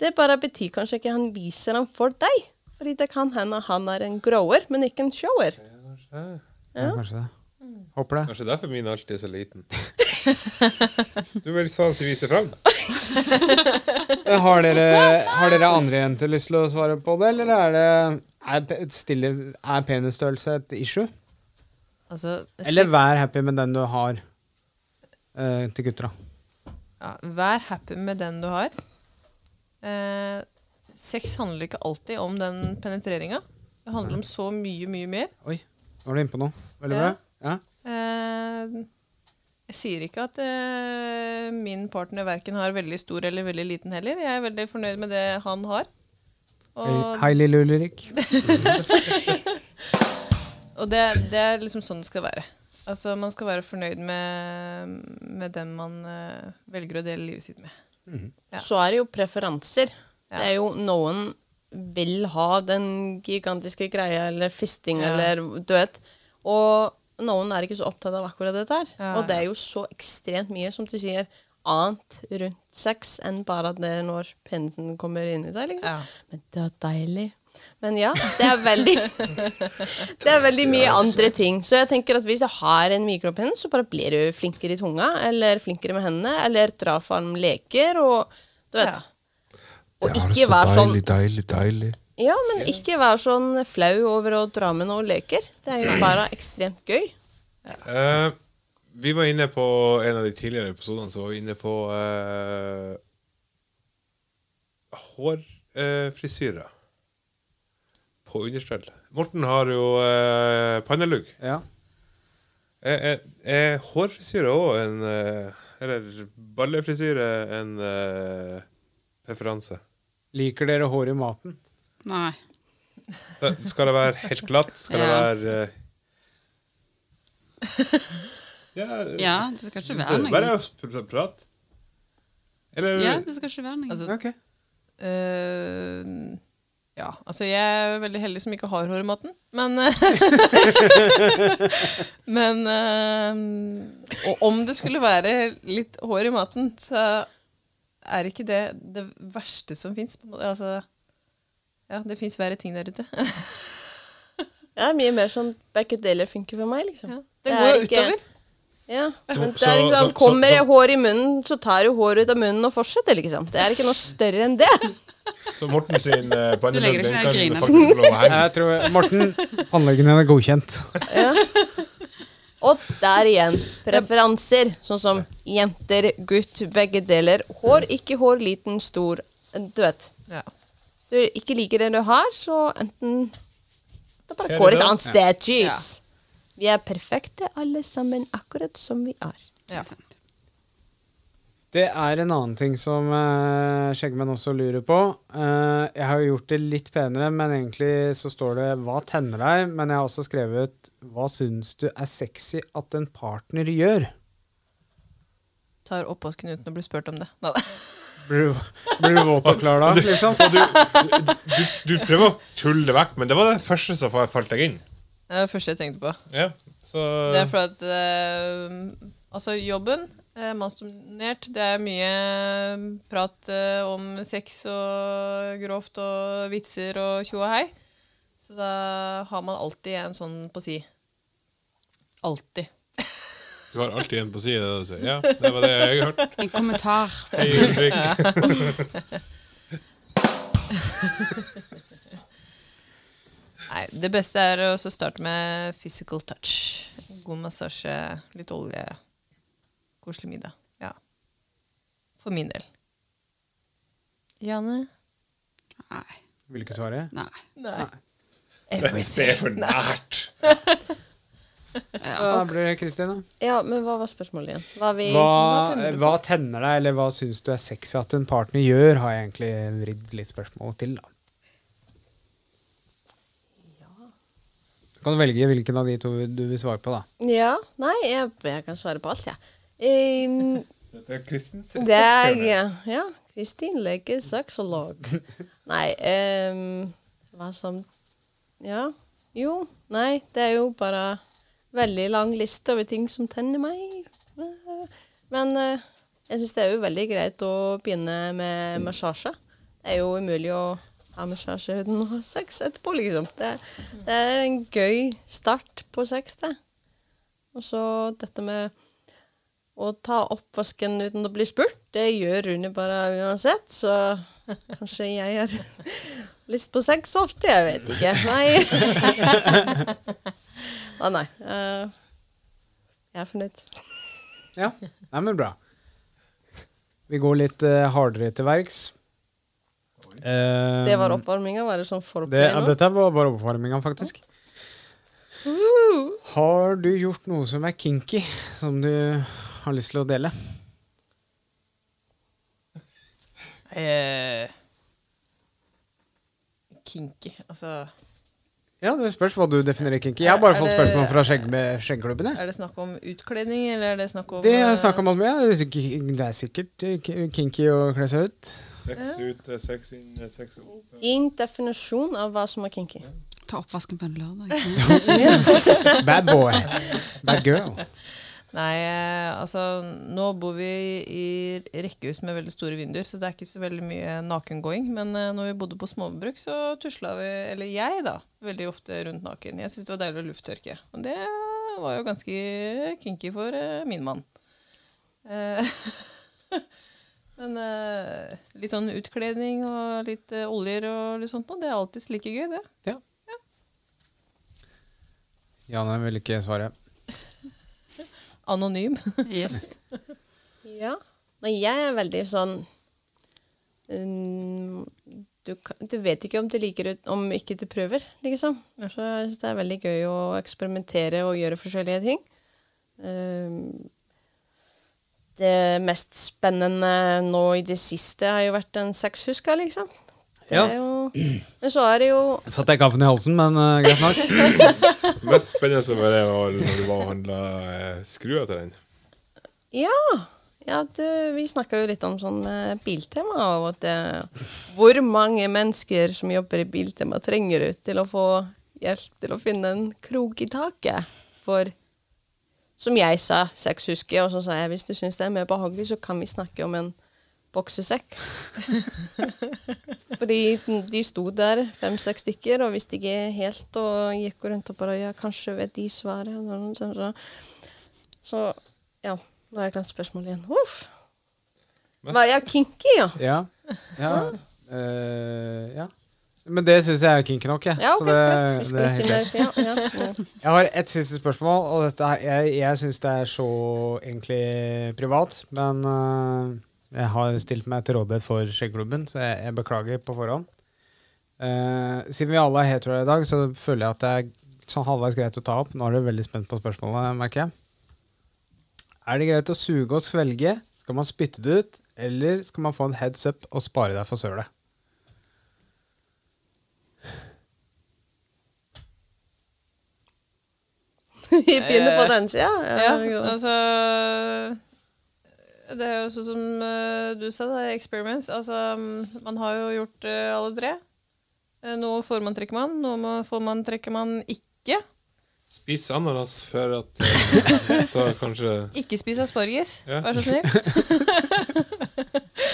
Det bare betyr kanskje ikke han viser den for deg. Fordi det kan hende han er en grower, men ikke en shower.
ja, Kanskje det. Håper det.
Kanskje derfor min alltid er så liten. Du vil faen ikke vise det fram.
Eh, Har dere, har dere andre jenter lyst til å svare på det, eller er det er, pe- et stille, er penisstørrelse et issue?
Altså,
Eller vær happy med den du har eh, til gutter, da.
Ja, vær happy med den du har. Eh, sex handler ikke alltid om den penetreringa. Det handler om så mye, mye mer.
Oi, nå var du inne på noe. Veldig bra.
Ja.
Ja.
Eh, jeg sier ikke at eh, min partner verken har veldig stor eller veldig liten heller. Jeg er veldig fornøyd med det han har.
Hei-
Og,
Hei, lille Ulrik.
og det, det er liksom sånn det skal være. Altså, Man skal være fornøyd med, med den man eh, velger å dele livet sitt med. Ja.
Så er det jo preferanser.
Ja.
Det er jo noen vil ha den gigantiske greia eller fisting
Ja.
eller du vet. Og noen er ikke så opptatt av akkurat dette her.
Ja,
Og det er jo så ekstremt mye, som du sier, annet rundt sex enn bare at det er når penisen kommer inn i deg, liksom.
Ja.
Men det er deilig. Men ja, det er veldig Det er veldig mye andre ting. Så jeg tenker at hvis du har en mikropenn, så bare blir du flinkere i tunga, eller flinkere med hendene, eller drar fram leker, og du vet.
Ja.
Og ikke vær sånn
deilig, deilig.
Ja, men ikke vær sånn flau over å dra med noen leker. Det er jo bare ekstremt gøy.
Eh, vi var inne på en av de tidligere episodene så var vi inne på eh, hårfrisyrer på understell. Morten har jo eh, pannelugg.
Ja.
Er, er, er hårfrisyre òg en eh, Eller ballefrisyre en eh, preferanse?
Liker dere hår i maten?
Nei.
Da- Eh, Skal det være helt glatt? Skal det
Ja.
være eh, ja, eh,
Ja, det skal ikke være
Det er
noe.
bare å pr- prate. Eller
Ja, det skal ikke være noe.
Altså,
Ok.
Eh, ja, altså jeg er jo veldig heldig som ikke har hår i maten, men eh, Men eh, Og om det skulle være litt hår i maten, så er ikke det det verste som fins. Altså, ja, det fins verre ting der ute.
Det er mye mer sånn begge deler funker for meg, liksom.
Ja.
Det
Det
er
går jo
ikke-
utover.
Ja, men
Så-
det er
så-
liksom,
så-
Kommer
så-
det hår i munnen, så tar du håret ut av munnen og fortsetter, liksom. Det er ikke noe større enn det.
Så Morten sin uh,
Du legger ikke ned grinen.
få lov å henge.
Jeg tror, Morten, anleggen din er godkjent.
Og der igjen, preferanser. Sånn som jenter, gutt, begge deler. Hår, ikke hår, liten, stor. Du vet.
Ja.
Du ikke liker det du har, så enten Da bare
Her
går
er
et
det.
annet sted. Jeez. Vi er perfekte alle sammen, akkurat som vi er.
Det er sant.
Det er en annen ting som uh, skjeggmenn også lurer på. Eh, jeg har jo gjort det litt penere, men egentlig så står det 'hva tenner deg'? Men jeg har også skrevet 'hva syns du er sexy at en partner gjør'?
Tar oppvasken uten å bli spurt om det. Neida.
Blir du, blir du våt og klar da, liksom?
Du prøver å tulle det vekk, men det var det første som fa- falt deg inn.
Det er det første jeg tenkte på.
Ja, så
Det er fordi at eh, Altså, jobben Eh, Mannsdominert. Det er mye prat eh, om sex og grovt og vitser og tjo og hei. Så da har man alltid en sånn på si. Alltid.
Du har alltid en på siden og sier ja, det var det jeg hørte.
En kommentar.
Hei, Ulrik.
Nei, det beste er å også starte med physical touch. God massasje, litt olje, koselig middag. Ja. For min del. Janne?
Nei.
Vil ikke svare.
nei.
Nei.
Det er for nært.
Da blir det Kristin, da.
Ja, men hva var spørsmålet igjen? Eh, Hva vi,
Hva,
tenner du på?
hva tenner deg, eller hva syns du er sexy at en partner gjør, har jeg egentlig vridd litt spørsmål til, da. Kan du velge hvilken av de to du vil svare på, da.
Ja, nei, jeg, jeg kan svare på alt, jeg. Eh, Ja.
Dette er Kristins
Det er ja. ja. Kristin leker sexolog. Nei ehm, Hva som Ja. Jo. Nei, det er jo bare veldig lang liste over ting som tenner meg. Men eh, jeg syns det er jo veldig greit å begynne med massasje. Det er jo umulig å ha massasje uten å ha sex etterpå, liksom. Det, det er en gøy start på sex, det. Og så dette med å ta oppvasken uten å bli spurt, det gjør Rune bare uansett, så kanskje jeg har lyst på sex ofte, jeg vet ikke. Nei. Å nei. eh, jeg er fornøyd.
Ja, Nei, men bra. Vi går litt eh, hardere til verks. Ehm,
Det var oppvarminga, var det sånn
Det,
forplay
ja,
nå?
dette var bare oppvarminga, faktisk. Har du gjort noe som er kinky, som du har lyst til å dele?
Eh, kinky, altså
Ja, det spørs hva du definerer kinky. Jeg har bare
Er- er
fått
det-
spørsmål fra skjegg skjeggklubben, jeg.
Er det snakk om utkledning, eller er det snakk om
Det er snakk om alt mulig. ja. Det er sikkert- Det er sikkert eh, ki- kinky å kle seg ut.
Sex ute, sex inne, sex oppe.
Din definisjon av hva som er kinky.
Ta oppvasken på en lørdag.
Bad boy. Bad girl.
Nei, eh, altså nå bor vi i rekkehus med veldig store vinduer, så det er ikke så veldig mye nakengåing. Men eh, når vi bodde på småbruk, så tusla vi, eller jeg da, veldig ofte rundt naken. Jeg syntes det var deilig å lufttørke. Og det var jo ganske kinky for eh, min mann. Eh, men eh, litt sånn utkledning og litt eh, oljer og litt sånt, nå, det er alltid like gøy, det.
Ja. Janne vil ikke svare.
Anonym.
Yes.
Ja. Nei, jeg er veldig sånn um, du, kan- du vet ikke om du liker det om ikke du prøver, liksom. Så jeg synes det er veldig gøy å eksperimentere og gjøre forskjellige ting. Um, det mest spennende nå i det siste har jo vært en sexhuska, liksom. Det
Ja.
er jo, men så er det jo
Satt jeg kaffen i halsen, men eh, greit nok.
Mest spennende var det var når du var og handla skruer til den.
Ja. ja du, vi snakka jo litt om sånn eh, biltema, og at eh, hvor mange mennesker som jobber i biltema, trenger du til å få hjelp til å finne en krok i taket? For som jeg sa, sexhuske, og så sa jeg hvis du syns det er mer behagelig, så kan vi snakke om en boksesekk. Fordi den- de sto der, fem-seks stykker, og visste ikke helt, og gikk rundt og bare Ja, kanskje vet de svaret? og sånn, sånn, sånn. Så ja, nå har jeg glemt spørsmålet igjen. Uff. Var jeg kinky, ja?
Ja. ja. Eh, ja. Men det syns jeg er kinky nok, jeg.
Ja,
Så
ok,
det-
greit. Vi
det
skal
er
ikke
helt greit.
mer. Ja, ja, ja.
Jeg har et siste spørsmål, og dette er, jeg, jeg syns det er så egentlig privat. Men øh, jeg har stilt meg til rådighet for Skjeggklubben, så jeg, jeg beklager på forhånd. Eh, siden vi alle er heteroer i dag, så føler jeg at det er sånn halvveis greit å ta opp. Nå er du veldig spent på spørsmålet, merker jeg. Er det greit å suge og svelge? Skal man spytte det ut? Eller skal man få en heads up og spare deg for sølet?
Vi begynner på den sida.
Ja,
Eh,
Ja, ja.
altså Det er jo sånn som eh, du sa, da, experiments. Altså, mm, man har jo gjort eh, alle tre. Eh, Noe får man trekker man, noe må- får man trekker man ikke.
Spis ananas før at eh, Så kanskje
Ikke spis asparges,
Ja.
vær så snill.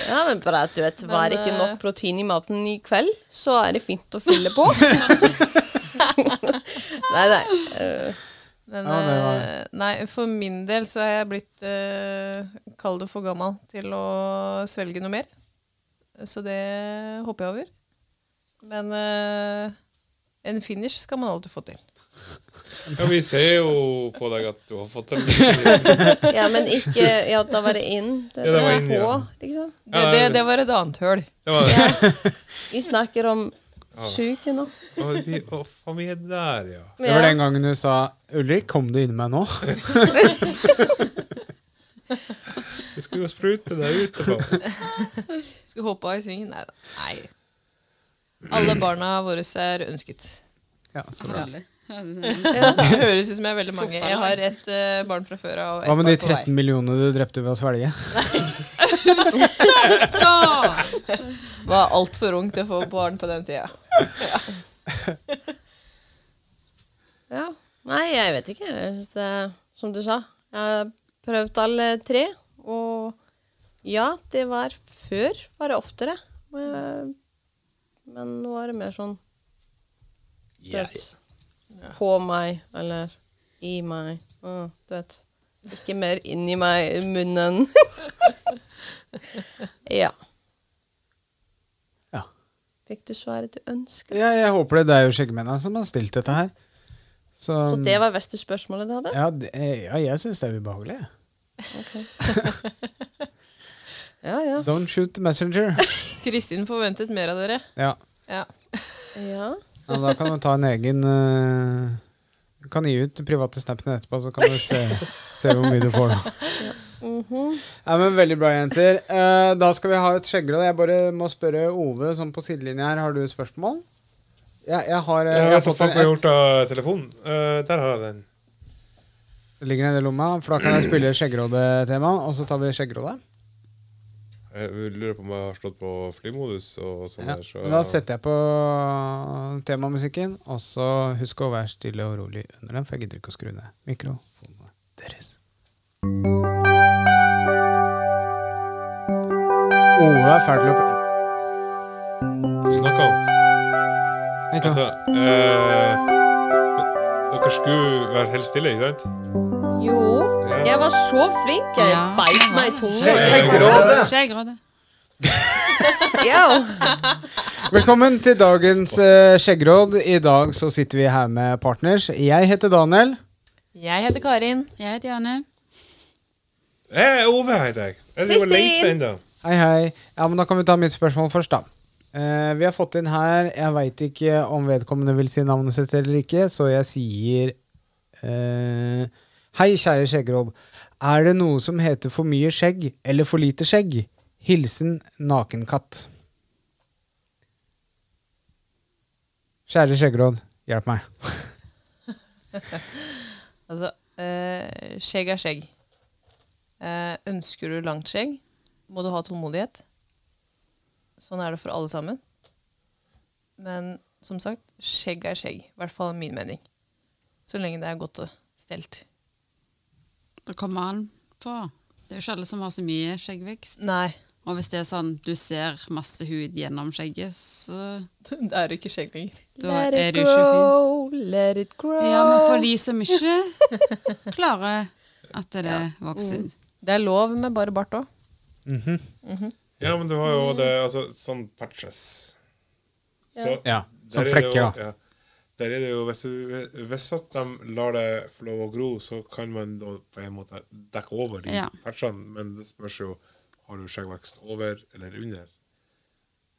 Ja, men bare at du vet, Var
Men,
ikke
eh,
nok protein i maten i kveld, så er det fint å fylle på. nei, nei. eh,
Men
Ja, det var-
eh, nei, for min del så er jeg blitt eh, Kall det for gammel til å svelge noe mer. Så det hopper jeg over. Men eh, en finish skal man alltid få til.
Ja, vi ser jo på deg at du har fått det.
ja, men ikke Ja, da var det inn. Det,
Ja, det var
var
inn,
på,
ja.
liksom.
Det, det, det var et annet høl.
det var,
Ja. Vi snakker om suget nå.
Å, vi, å, faen, vi er der, ja.
Det var
Ja.
den gangen du sa 'Ulrik, kom du inni meg nå?'
Vi skulle jo sprute deg utenpå.
Skulle hoppa i svingen. Nei da. Nei. Alle barna våre er ønsket.
Ja, så bra.
Alle. Altså,
Det høres ut som jeg er veldig mange. Jeg
Fotballag.
har ett eh, barn fra før av. og ett
Hva med de
barn på vei.
13 millionene du drepte ved å svelge?
da!
Var altfor ung til å få barn på den tida.
Ja. Nei, jeg vet ikke. Jeg synes det, som du sa, jeg har prøvd alle tre. Og ja, det var før var det oftere. Men, men nå er det mer sånn du vet, På meg, eller i meg. Mm, du vet. Ikke mer inni meg, i munnen. ja.
Ja.
Fikk du svaret du ønsket?
Ja, jeg håper det. Det er jo skjeggmennene som har stilt dette her. Så, um,
Så det var verste spørsmålet du hadde?
ja, det, ja, jeg syns det er ubehagelig. jeg.
Ja, ja.
Don't shoot the messenger.
Kristin forventet mer av dere.
Ja.
Ja.
ja.
ja, da kan du ta en egen eh, Du kan gi ut private snappen etterpå, så kan du se, se hvor mye du får, da.
Mhm.
Ja, men Veldig bra, jenter. Eh, da skal vi ha et skjeggråd. Jeg bare må spørre Ove sånn på sidelinja her, har du spørsmål? Ja, jeg har, eh,
Jeg
jeg har
fått
fått en,
faen meg
et,
gjort av telefonen. Eh, der har jeg den.
det ligger nede i lomma, for da kan jeg spille skjeggrådetema, og så tar vi skjeggrådet.
Jeg Eh, lurer på om jeg har slått på flymodus og sånn
Ja.
der, så
Men Da setter jeg på temamusikken, og så husk å være stille og rolig under den, for jeg gidder ikke å skru ned mikrofonene deres. Ove er fæl til å pr-
snakker han.
Vent da.
Altså, eh, d- dere skulle være helt stille, ikke sant?
Jo, jeg var så flink. Jeg
Ja.
beit meg i altså.
Jeg
tunga.
Skjeggråde.
Ja.
Velkommen til dagens eh, skjeggråd. I dag så sitter vi her med partners. Jeg heter Daniel.
Jeg heter Karin.
Jeg heter Janne.
Eh, Ove heter jeg. Jeg driver og
Kristin!
leter ennå.
Hei, hei. Ja, men Da kan vi ta mitt spørsmål først, da. Eh, vi har fått inn her Jeg veit ikke om vedkommende vil si navnet sitt eller ikke, så jeg sier eh, Hei, kjære skjeggråd. Er det noe som heter for mye skjegg eller for lite skjegg? Hilsen nakenkatt. Kjære skjeggråd, hjelp meg.
Altså, eh, skjegg er skjegg. Eh, ønsker du langt skjegg, må du ha tålmodighet. Sånn er det for alle sammen. Men som sagt, skjegg er skjegg. I hvert fall min mening. Så lenge det er godt og stelt.
Da kommer han på. Det er jo ikke alle som har så mye skjeggvekst.
Nei,
Og hvis det er sånn du ser masse hud gjennom skjegget, så
det er jo ikke skjegg lenger.
da
Let
er
it
du ikke fin.
grow, let it grow.
Ja, men for de som ikke klarer at det vokser ut.
Det er lov med bare bart òg.
Ja, men du har jo det altså, sånn patches. Så,
Ja,
der
Sånn
er det jo-
frekker, da.
Ja. Der er det jo, hvis, du, hvis at de lar det få lov å gro, så kan man da på en måte dekke over de
Ja.
patchene, men det spørs jo har du skjeggvekst over eller under.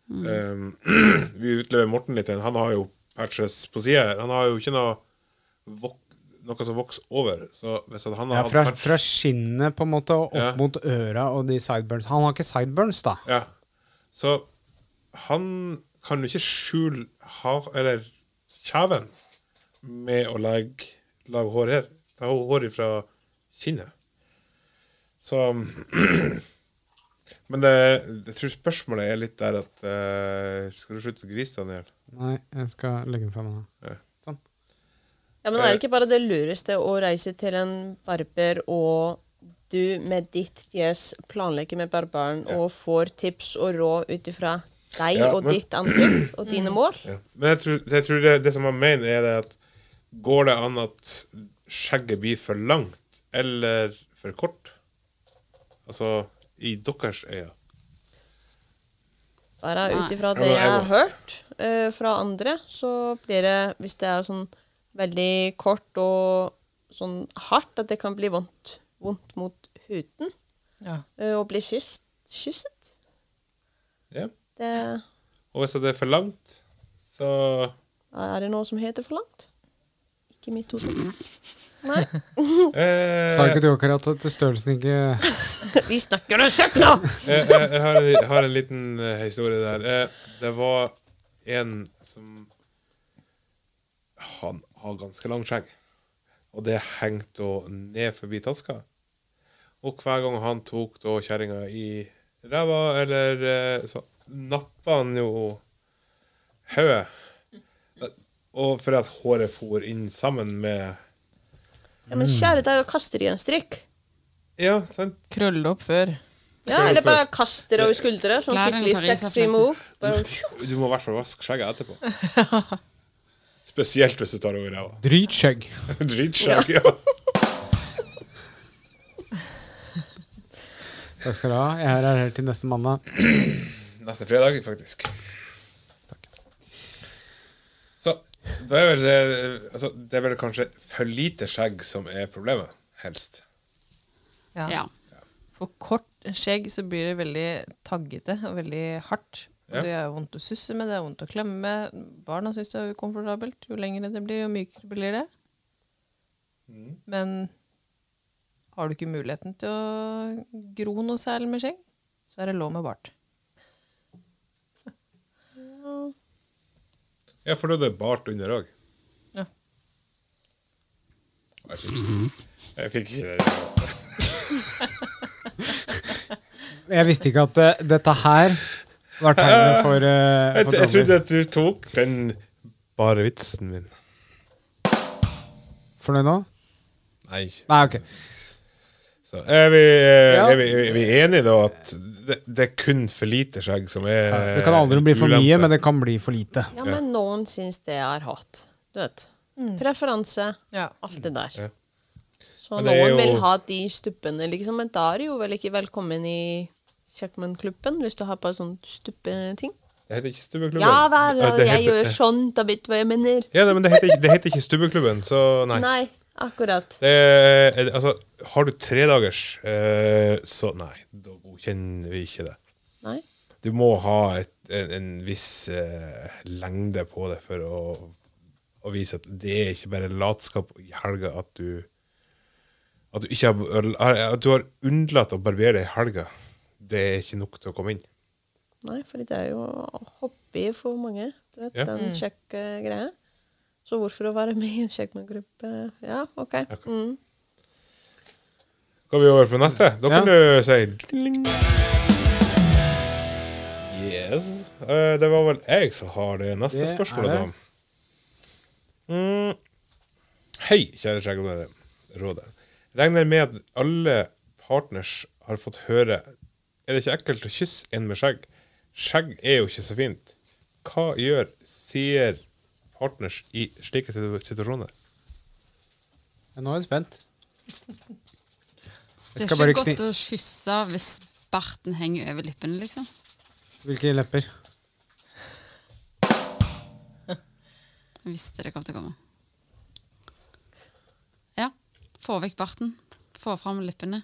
Um, vi utlever Morten litt. Han har jo patches på sida. Han har jo ikke noe, vok noe som vokser over. Så hvis at han
Ja,
har
fra,
hatt patch-
fra skinnet på en måte og
Ja.
opp mot øra og de sideburns. Han har ikke sideburns, da.
Ja. Så han kan jo ikke skjule har, eller kjeven med å legge lage hår her. Ta hår fra kinnet. Så Men det, jeg tror spørsmålet er litt der at eh, Skal du slutte å grise, Daniel?
Sånn. Nei, jeg skal legge den fra meg nå.
Ja, men er det ikke bare det lureste å reise til en barber, og du med ditt fjes planlegger med barbaren og får tips og råd ut ifra deg
Ja,
og
men-
ditt ansikt og
Mm.
dine mål?
Ja. Men jeg tror, jeg tror det, det som han mener, er det at går det an at skjegget blir for langt eller for kort? Altså i deres øyne.
Bare ut ifra
Ja,
det
men jeg
jeg har
må-
hørt eh, fra andre, så blir det, hvis det er sånn veldig kort og sånn hardt, at det kan bli vondt, vondt mot huden
Ja.
eh, og bli kysst. kysset.
Ja.
Det,
Og hvis det er for langt, så
er det noe som heter for langt? Ikke mitt
Mm.
hode.
eh,
Sa ikke du akkurat at størrelsen ikke
Vi snakker om søkk nå!
jeg, jeg, eh, jeg, har en, jeg har en liten eh, historie der. Eh, det var en som Han har ganske langt skjegg. Og det hengte hun ned forbi taska. Og hver gang han tok da kjerringa i ræva, eller eh, så nappa han jo hodet. Og fordi at håret for inn sammen med
Ja, men kjære deg, da kaster de en strikk.
Ja, sant?
Krølle opp før.
Ja, eller bare kaster det over skuldre. Sånn
Lær den
skikkelig
Paris,
sexy
jeg
move.
Mm.
Bare, pju.
Du må i hvert fall vaske skjegget etterpå. Spesielt hvis du tar over ræva.
Dritskjegg.
Dritskjegg, ja.
Takk skal du ha. Jeg er her til neste mandag.
Neste fredag, faktisk. Så det er, vel, eh, altså, det er vel kanskje for lite skjegg som er problemet, helst.
Ja.
Ja.
For kort skjegg så blir det veldig taggete og veldig hardt. Og
Ja.
Det er vondt å susse med, det er vondt å klemme med. Barna syns det er ukomfortabelt. Jo lengre det blir, jo mykere blir det.
Mm.
Men har du ikke muligheten til å gro noe særlig med skjegg, så er det lov med bart.
Ja, for da er det bart under òg.
Ja.
Jeg, fikk- jeg fikk ikke det.
Jeg visste ikke at eh, dette her var tegnet for, eh,
Jeg,
for
jeg
trommer.
trodde at du tok den bare vitsen min.
Fornøyd nå?
Nei.
Nei, ok.
Så er vi, eh,
Ja.
er vi, er vi enige da at det, det er kun for lite skjegg som er
Det kan aldri bli for mye, men det kan bli for lite.
Ja, men noen syns det er hot. Du vet. Preferanse.
Ja.
Alt det der.
Ja.
Så
Men det er
noen vil
jo-
ha de stuppene, liksom. Men da er du jo vel ikke velkommen i Checkman-klubben hvis du har på sånn stuppeting.
Det heter ikke Stubbeklubben.
Ja vel,
Eh, det
jeg
heter-
gjør sånn, da vet du hva jeg mener.
Ja, nei, men det heter, ikke, det heter ikke Stubbeklubben, så nei.
Nei, akkurat.
Det er, er det- altså, har du tredagers, eh, så nei, da godkjenner vi ikke det.
Nei.
Du må ha et, en, en viss eh, lengde på det for å, å vise at det er ikke bare latskap i helga at du at du, ikke har, at du har unnlatt å barbere deg i helga. Det er ikke nok til å komme inn.
Nei, fordi det er jo hobby for mange. Du vet,
Ja.
Den kjekke greia. Så hvorfor å være med i en Checkman-gruppe? Ja, OK. Mm.
Skal vi over på neste? Da kan
Ja.
du si dling. Yes. Eh, det var vel jeg som har det neste
Det er
spørsmålet,
det.
da. Mm. Hei, kjære Skjeggrådet. Regner med at alle partners har fått høre Er det ikke ekkelt å kysse en med skjegg? Skjegg er jo ikke så fint. Hva gjør sier partners i slike situ- situasjoner?
Nå er jeg spent.
Det
Jeg
er
skal bare
ikke
kni...
godt å kysse hvis barten henger over lippene, liksom.
Hvilke lepper?
Jeg visste det kom til å komme. Ja. Få vekk barten. Få fram lippene.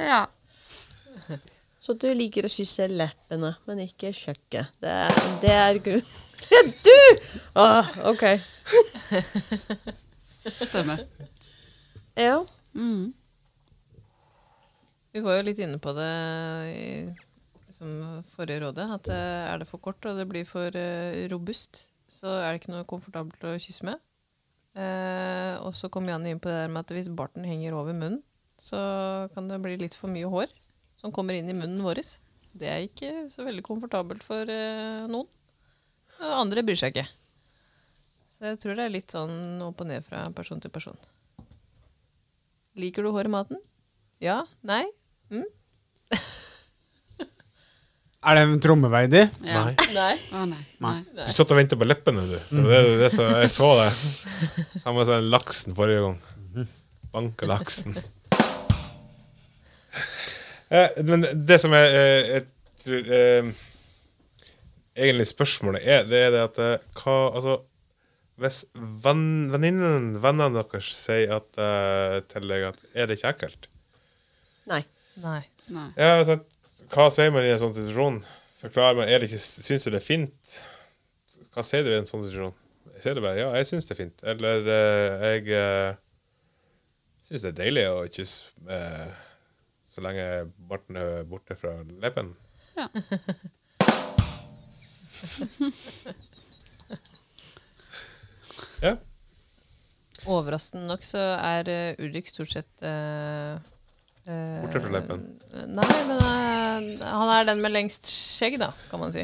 ja.
Så du liker å kysse leppene, men ikke kjøkkenet. Det, er- det er grunnen. du! Ah, OK.
Stemmer.
Ja.
Mm.
Vi var jo litt inne på det i liksom, forrige rådet, at eh, er det for kort og det blir for eh, robust, så er det ikke noe komfortabelt å kysse med. Eh, og så kom Janne inn på det der med at hvis barten henger over munnen, så kan det bli litt for mye hår som kommer inn i munnen vår. Det er ikke så veldig komfortabelt for eh, noen. Og andre bryr seg ikke. Så jeg tror det er litt sånn opp og ned fra person til person. Liker du hår i maten? Ja? Nei? Mm?
Er det en trommeveidi?
Ja.
Nei.
Nei.
Å, nei. nei.
Du satt og venta på leppene, du. Det var det, det, var det som- jeg så det. Samme som den laksen forrige gang. Banka laksen. Eh, men det som er eh, jeg tror, eh, Egentlig spørsmålet er, det er det at eh, hva Altså, hvis venn, venninnen, vennene deres sier at, eh, til deg at Er det ikke ekkelt?
Nei.
Nei.
Nei.
Ja, altså, hva sier man i en sånn situasjon? Forklarer man, er det ikke, Syns du det er fint? Hva sier du i en sånn situasjon? Jeg sier det bare, ja, jeg syns det er fint. Eller eh, jeg uh, syns det er deilig å kysse eh, så lenge barten er borte fra leppen.
Ja.
Ja.
Overraskende nok så er eh, Ulrik stort sett eh, eh,
Borte fra leppen.
Nei, men eh, han er den med lengst skjegg, da, kan man si.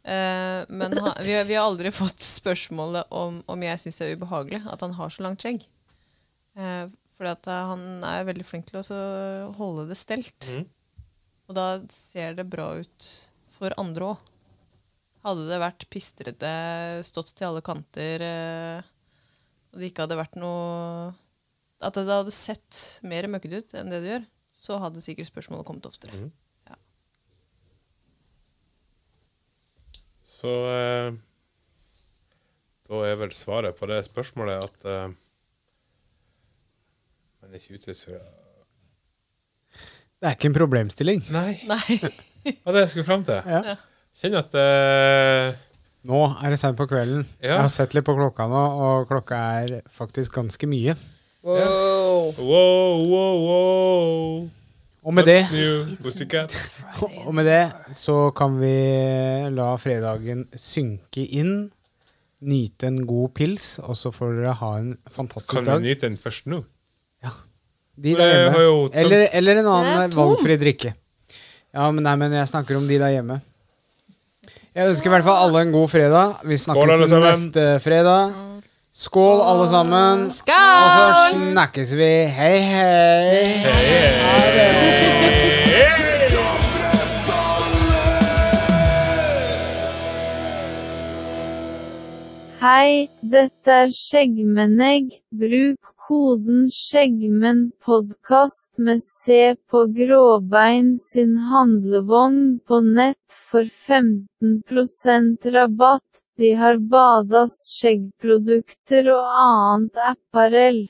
Eh, men han, vi, vi har aldri fått spørsmålet om, om jeg syns det er ubehagelig at han har så langt skjegg. Uh, fordi at eh, han er veldig flink til å så holde det stelt.
Mhm.
Og da ser det bra ut for andre òg. Hadde det vært pistrete, stått til alle kanter eh, og det ikke hadde vært noe At det hadde sett mer møkkete ut enn det det gjør, så hadde sikkert spørsmålet kommet oftere.
Mhm.
Ja.
Så eh, da er vel svaret på det spørsmålet at eh, man er ikke utviser
Det er ikke en problemstilling.
Nei,
Nei.
det var det jeg skulle fram til.
Ja.
Kjenner at eh,
Nå er det seint på kvelden.
Ja.
Jeg har sett litt på klokka nå, og klokka er faktisk ganske mye.
Wow.
Wow, wow, wow.
Og med det,
What's new? What's it got?
og med det så kan vi la fredagen synke inn. Nyte en god pils, og så får dere ha en fantastisk
Kan vi
dag.
nyte den først nå?
De
For
der
jeg har
hjemme.
jo tømt-
Eller, eller en
Jeg er
annen
tom.
valgfri drikke. Ja, men nei, men jeg snakker om de der hjemme. Jeg ønsker i hvert fall alle en god fredag. Vi
Skål, alle
snakkes
sammen.
neste fredag. Skål, alle sammen. Og så snakkes vi. hei. hei.
dobre faller
Hei, dette er Skjeggmennegg. Bruk koden skjeggmennpodkast med C på Gråbein sin handlevogn på nett for 15 rabatt. De har Badas skjeggprodukter og annet apparell.